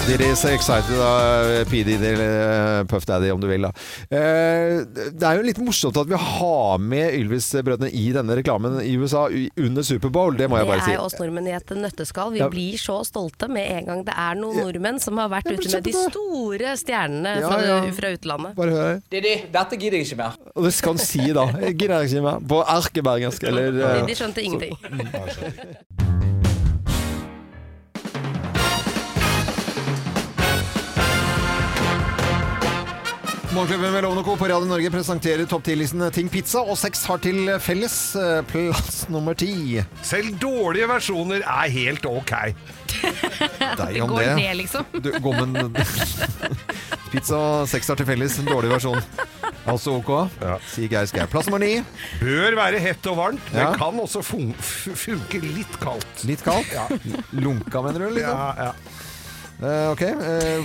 [SPEAKER 3] Dere er så excited av PD til eh, Puff Daddy, om du vil. Da. Eh, Det er jo litt morsomt at vi har med Ylvis-brødrene i denne reklamen i USA u- under Superbowl, det må jeg
[SPEAKER 4] Det
[SPEAKER 3] bare
[SPEAKER 4] er
[SPEAKER 3] si.
[SPEAKER 4] jo oss nordmenn i et nøtteskall. Vi
[SPEAKER 3] Ja.
[SPEAKER 4] blir så stolte med en gang det er noen nordmenn som har vært
[SPEAKER 3] Ja, men
[SPEAKER 4] ute med de
[SPEAKER 3] kjempebra.
[SPEAKER 4] store stjernene
[SPEAKER 3] Ja,
[SPEAKER 4] fra,
[SPEAKER 3] ja.
[SPEAKER 4] fra utlandet.
[SPEAKER 3] Bare hør her.
[SPEAKER 14] Det er det. Dette gidder jeg ikke mer.
[SPEAKER 3] Og det skal han si, da. Jeg Gidder ikke mer. På erkebergensk, eller eh,
[SPEAKER 4] De skjønte ingenting.
[SPEAKER 3] Morgenklubben med Lovende Co. på Radio Norge presenterer topp 10-listen Ting Pizza, og seks har til felles eh, plass nummer ti.
[SPEAKER 5] Selv dårlige versjoner er helt ok.
[SPEAKER 3] Deg om det.
[SPEAKER 4] liksom.
[SPEAKER 3] Du, gommen Pizza seks har til felles, en dårlig versjon. Altså ok. Sier Geir Skau. Plass nummer ni.
[SPEAKER 5] Bør være hett og varmt,
[SPEAKER 3] Ja.
[SPEAKER 5] men kan også fun f- funke litt kaldt.
[SPEAKER 3] Litt kaldt.
[SPEAKER 5] Ja.
[SPEAKER 3] Lunka, mener du? Liksom?
[SPEAKER 5] Ja, ja.
[SPEAKER 3] Eh, ok. eh,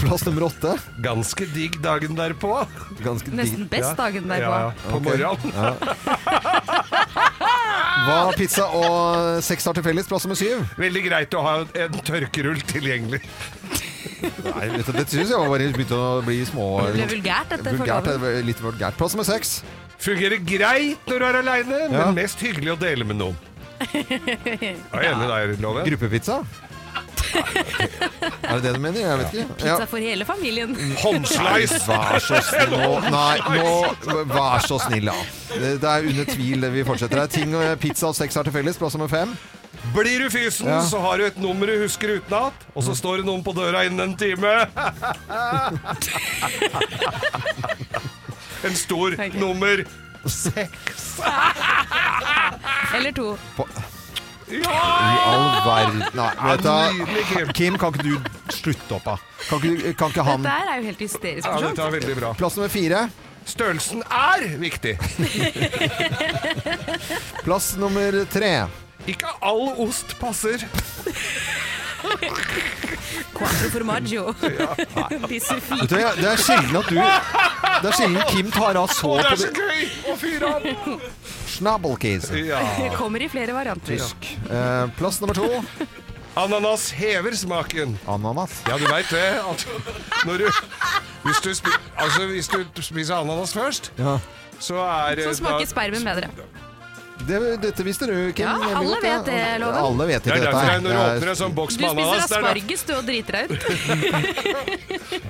[SPEAKER 3] plass nummer åtte.
[SPEAKER 5] Ganske digg dagen derpå.
[SPEAKER 3] Ganske digg. Ja.
[SPEAKER 15] dagen
[SPEAKER 5] Ja, på
[SPEAKER 3] Ok.
[SPEAKER 5] morgenen.
[SPEAKER 3] Ja. Hva har pizza og seks har til felles? Plass nummer syv.
[SPEAKER 5] Veldig greit å ha en tørkerull tilgjengelig.
[SPEAKER 3] Nei, vet du, det syns jeg var bare begynte å bli små
[SPEAKER 5] Det ble vulgært, dette,
[SPEAKER 3] Vulgært,
[SPEAKER 5] forloven.
[SPEAKER 3] eh, Litt vulgært. Plass nummer seks.
[SPEAKER 5] Fungerer greit når du er aleine,
[SPEAKER 3] Ja.
[SPEAKER 5] men mest hyggelig å dele med noen. Jeg er enig der, Loven.
[SPEAKER 3] Gruppepizza? Er det det du mener? Jeg vet ikke. Ja.
[SPEAKER 15] Pizza for hele familien.
[SPEAKER 5] Håndslice!
[SPEAKER 3] Nei, Vær så snill. Nå, nei, nå, vær så snill, da. Det, det er under tvil vi fortsetter. Det er ting og pizza og sex har til felles. Plass nummer fem.
[SPEAKER 5] Blir du fysen,
[SPEAKER 3] Ja. Mm.
[SPEAKER 5] så har du et nummer du husker utenat, og så står det noen på døra innen en time. en stor nummer seks.
[SPEAKER 15] Eller to.
[SPEAKER 3] I all verden Nei, vet
[SPEAKER 5] Nydelig,
[SPEAKER 3] du,
[SPEAKER 5] Kim.
[SPEAKER 3] Kim, kan ikke du slutte opp, da? Kan ikke, kan ikke han
[SPEAKER 15] Dette her er jo helt hysterisk
[SPEAKER 5] Ja,
[SPEAKER 15] morsomt.
[SPEAKER 5] dette er veldig bra.
[SPEAKER 3] Plass nummer fire.
[SPEAKER 5] Størrelsen er viktig.
[SPEAKER 3] Plass nummer tre.
[SPEAKER 5] Ikke all ost passer.
[SPEAKER 15] Quattro formaggio. Pisser
[SPEAKER 3] Vet du, jeg- det er sjelden at du Det er sjelden Kim tar av så
[SPEAKER 5] Å, det
[SPEAKER 3] på
[SPEAKER 5] er
[SPEAKER 3] det.
[SPEAKER 5] så gøy å fyre opp!
[SPEAKER 3] Schnabelkäse.
[SPEAKER 5] Ja.
[SPEAKER 15] Kommer i flere varianter.
[SPEAKER 3] Tysk. Eh, plass nummer to.
[SPEAKER 5] Ananas hever smaken.
[SPEAKER 3] Ananas?
[SPEAKER 5] Ja, du veit det. At når du, hvis, du spi, altså, hvis du spiser ananas først, så er det
[SPEAKER 15] Så
[SPEAKER 5] da-
[SPEAKER 15] smaker spermen bedre.
[SPEAKER 3] Det, dette visste du, Kim.
[SPEAKER 15] Ja, alle
[SPEAKER 3] Emilot,
[SPEAKER 15] vet det, Loven.
[SPEAKER 3] Alle vet
[SPEAKER 5] Det
[SPEAKER 3] ikke
[SPEAKER 5] er
[SPEAKER 3] dette.
[SPEAKER 5] derfor
[SPEAKER 3] her.
[SPEAKER 5] jeg når du åpner en sånn
[SPEAKER 15] Du
[SPEAKER 5] boks med
[SPEAKER 15] spiser
[SPEAKER 5] ananas det er da-
[SPEAKER 15] asparges, du, og driter deg ut.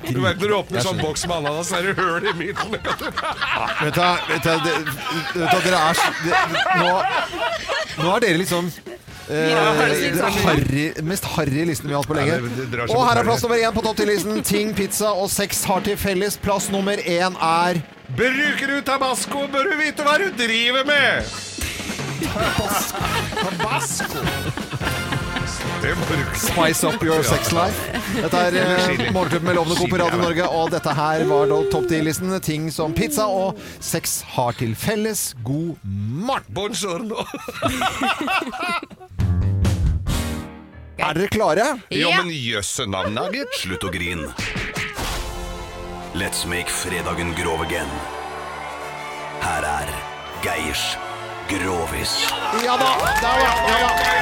[SPEAKER 5] Du vet når du åpner en
[SPEAKER 3] Jeg
[SPEAKER 5] sånn
[SPEAKER 3] skjønner.
[SPEAKER 5] boks med ananas, så er det høl i midten.
[SPEAKER 3] Vet du, hva, vet du, hva, det, vet du, hva, dere er så- det, nå, nå er dere liksom eh,
[SPEAKER 5] Ja, det er litt
[SPEAKER 3] det
[SPEAKER 5] sånn.
[SPEAKER 3] harry, mest harry listen vi har hatt på lenge.
[SPEAKER 5] Ja, det- det drar
[SPEAKER 3] Og
[SPEAKER 5] seg mot
[SPEAKER 3] her er
[SPEAKER 5] harry.
[SPEAKER 3] plass nummer én på topp 10-listen. Ting, pizza og sex har til felles. Plass nummer én er
[SPEAKER 5] Bruker du tabasco, bør du vite hva du driver med! Tabasco? Det må du ikke
[SPEAKER 3] Spice up your sex life. Dette er eh, Morgenklubben med Lovende Co på Radio Norge, og dette her var da topp 10-listen. Ting som pizza og sex har til felles. God morgen!
[SPEAKER 5] Buongiorno.
[SPEAKER 3] Er dere klare?
[SPEAKER 5] Ja, men jøsse navn, Nugget.
[SPEAKER 16] Slutt å grine. Let's make fredagen grov again. Her er Geirs Grovis.
[SPEAKER 3] Ja da! da, ja, ja, ja.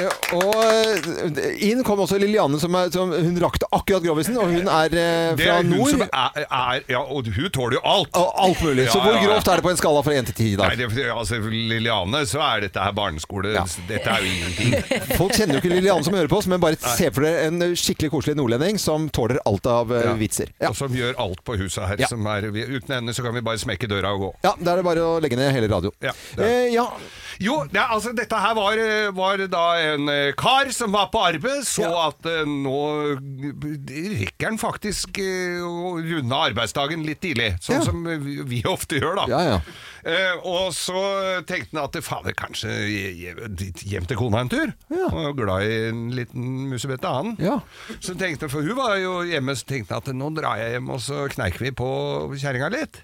[SPEAKER 3] Eh, Og eh, inn kom også Liliane, som, er, som hun rakte akkurat grovisen. Og hun er eh,
[SPEAKER 5] Det
[SPEAKER 3] fra
[SPEAKER 5] er hun
[SPEAKER 3] nord.
[SPEAKER 5] som er, er Ja, og hun tåler jo alt.
[SPEAKER 3] alt mulig. Så
[SPEAKER 5] Ja,
[SPEAKER 3] hvor
[SPEAKER 5] ja, ja.
[SPEAKER 3] grovt er det på en skala fra 1 til 10 i
[SPEAKER 5] Nei,
[SPEAKER 3] dag?
[SPEAKER 5] det, altså, for Liliane, så er dette her barneskole. Dette er jo ingenting.
[SPEAKER 3] Folk kjenner jo ikke Liliane som hører på oss, men bare se for dere en eh, skikkelig koselig nordlending som tåler alt av eh,
[SPEAKER 5] Ja.
[SPEAKER 3] vitser.
[SPEAKER 5] Og som gjør alt på huset her. Som er, vi, uten henne så kan vi bare smekke døra og gå.
[SPEAKER 3] Ja, Da er det bare å legge ned hele radioen.
[SPEAKER 5] Ja.
[SPEAKER 3] Eh, ja.
[SPEAKER 5] Jo, det, er- altså dette her var, eh, var da en eh, kar som var på arbeid, så at eh, nå eh, rekker han faktisk eh, å runde arbeidsdagen litt tidlig. Sånn som eh, vi, vi ofte gjør, da. Eh, og så tenkte han at fader, kanskje hje- hjem til kona en tur? Han var jo glad i en liten musebete, han. Så tenkte han, for hun var jo hjemme, så tenkte han at nå drar jeg hjem, og så kneiker vi på kjerringa litt.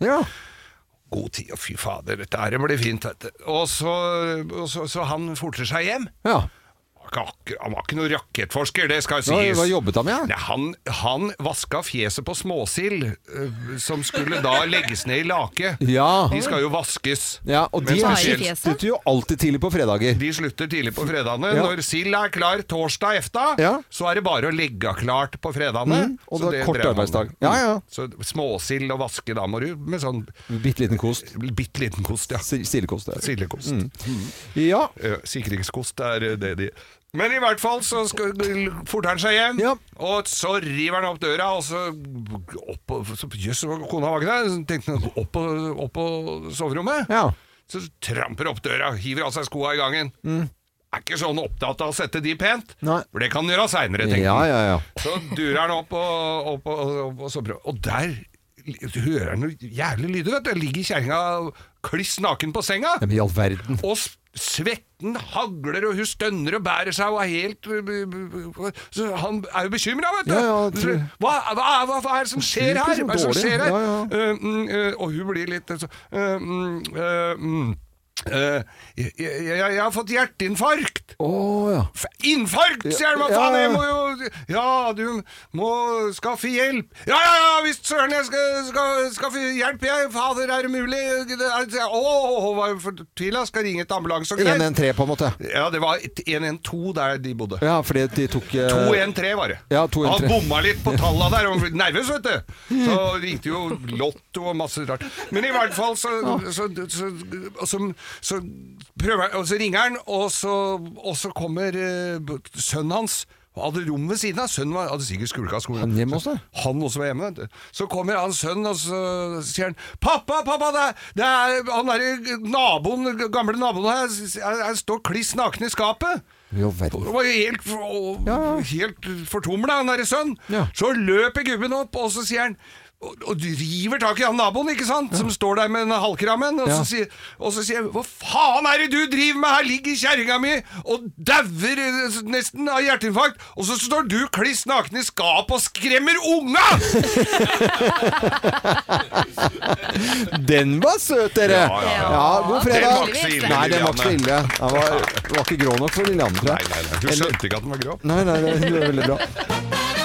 [SPEAKER 5] God tid, og fy fader, dette her blir fint, vet du. Og så, og så, så han forter seg hjem. Han var ikke akkur- Han var ikke noen rakettforsker, det skal jo
[SPEAKER 3] Hva-
[SPEAKER 5] sies.
[SPEAKER 3] hva jobbet han med, da?
[SPEAKER 5] Nei, Han, han vaska fjeset på småsild, øh, som skulle da legges ned i lake.
[SPEAKER 3] Ja.
[SPEAKER 5] De skal jo vaskes.
[SPEAKER 3] ja og
[SPEAKER 5] Men
[SPEAKER 3] de er-
[SPEAKER 5] spesielt-
[SPEAKER 3] slutter jo alltid tidlig på fredager.
[SPEAKER 5] de slutter tidlig på fredagene.
[SPEAKER 3] Ja.
[SPEAKER 5] Når sild er klar torsdag efta, så er det bare å legge av klart på fredagene.
[SPEAKER 3] Mm, og
[SPEAKER 5] Så
[SPEAKER 3] det er kort
[SPEAKER 5] drev man
[SPEAKER 3] arbeidsdag.
[SPEAKER 5] med. Mm.
[SPEAKER 3] Ja, ja.
[SPEAKER 5] Så småsild og vaske, da må du med sånn
[SPEAKER 3] Bitte liten kost.
[SPEAKER 5] Bitte liten kost, ja.
[SPEAKER 3] Sildekost.
[SPEAKER 5] Sildekost.
[SPEAKER 3] Mm. Ja.
[SPEAKER 5] Eh, Sikringskost er eh, det de men i hvert fall så skal- forter han seg hjem, og så river han opp døra, og så opp og så- Jøss, kona var ikke der. Så tenkte han opp på, opp på soverommet. Så tramper opp døra, hiver av seg skoa i gangen.
[SPEAKER 3] Mm.
[SPEAKER 5] Er ikke sånn opptatt av å sette de pent,
[SPEAKER 3] Nei.
[SPEAKER 5] for det kan han gjøre seinere, tenker
[SPEAKER 3] Ja,
[SPEAKER 5] han.
[SPEAKER 3] ja, ja.
[SPEAKER 5] Så durer han opp og, opp og, opp og så prøver Og der li- hører han noe jævlig lyder, vet du. Der ligger kjerringa kliss naken på senga.
[SPEAKER 3] Ja, men i all verden.
[SPEAKER 5] Og s- svetten hagler, og hun stønner og bærer seg og er helt øh, øh, øh, Så han er jo bekymra, vet du.
[SPEAKER 3] Ja, ja, jeg tror-
[SPEAKER 5] hva, hva, hva, hva er det som
[SPEAKER 3] Sykt,
[SPEAKER 5] skjer her?
[SPEAKER 3] liksom,
[SPEAKER 5] Hva er det som
[SPEAKER 3] dårlig.
[SPEAKER 5] skjer her?
[SPEAKER 3] Ja, ja.
[SPEAKER 5] Eh, mm, eh, og hun blir litt eh, så, eh, mm, eh, mm, eh, jeg, jeg, jeg, jeg har fått hjerteinfarkt! F- Infarkt, sier han! Hva
[SPEAKER 12] Ja, ja,
[SPEAKER 5] faen, jeg
[SPEAKER 12] ja.
[SPEAKER 5] må jo Ja, du må skaffe hjelp! Ja, ja, ja, visst søren, jeg skal, skal skaffe hjelp, jeg! Fader, er det mulig? Det er- Å, hun var jo fortvila, skal ringe et ambulanse og
[SPEAKER 3] 113 på en måte.
[SPEAKER 5] Ja, det var et- 112 der de bodde.
[SPEAKER 3] Ja, fordi de tok eh,
[SPEAKER 5] 2-1-3 var det.
[SPEAKER 3] Ja, 213.
[SPEAKER 5] Han bomma litt på talla der, han ble nervøs, vet du. Så ringte jo Lotto og masse rart. Men i hvert fall så, så, så, og så, så prøver han, og så ringer han, og så, og så kommer eh, b- sønnen hans. Han Hadde rom ved siden av. Sønnen var, hadde sikkert skulka skolen. Han hjemme også? Han også var hjemme. vet du. Så kommer hans sønn, og så sier han 'Pappa, pappa, det er, det er han derre naboen, gamle naboen her, s- s- jeg står kliss naken i skapet'.
[SPEAKER 3] I all verden.
[SPEAKER 5] Det var jo helt, for- helt fortumla, han derre sønn. Så løper gubben opp, og så sier han og og river tak i han naboen, ikke sant, som står der med den halvkrammen, og,
[SPEAKER 12] Ja.
[SPEAKER 5] så sier- og så sier han 'Hva faen er det du driver med? Her ligger kjerringa mi og dauer eh, nesten av hjerteinfarkt', og så står du kliss naken i skapet og skremmer unga!
[SPEAKER 3] Den var søt, dere!
[SPEAKER 5] Ja, ja, ja.
[SPEAKER 3] god
[SPEAKER 5] Den
[SPEAKER 3] fredag.
[SPEAKER 5] var ikke så ille,
[SPEAKER 3] Nei, den var ikke så ille.
[SPEAKER 5] Liliane.
[SPEAKER 3] Den var, var ikke grå nok for Lillehammer. tror jeg.
[SPEAKER 5] Hun skjønte ikke at den var grå.
[SPEAKER 3] Nei, nei, det det er veldig bra.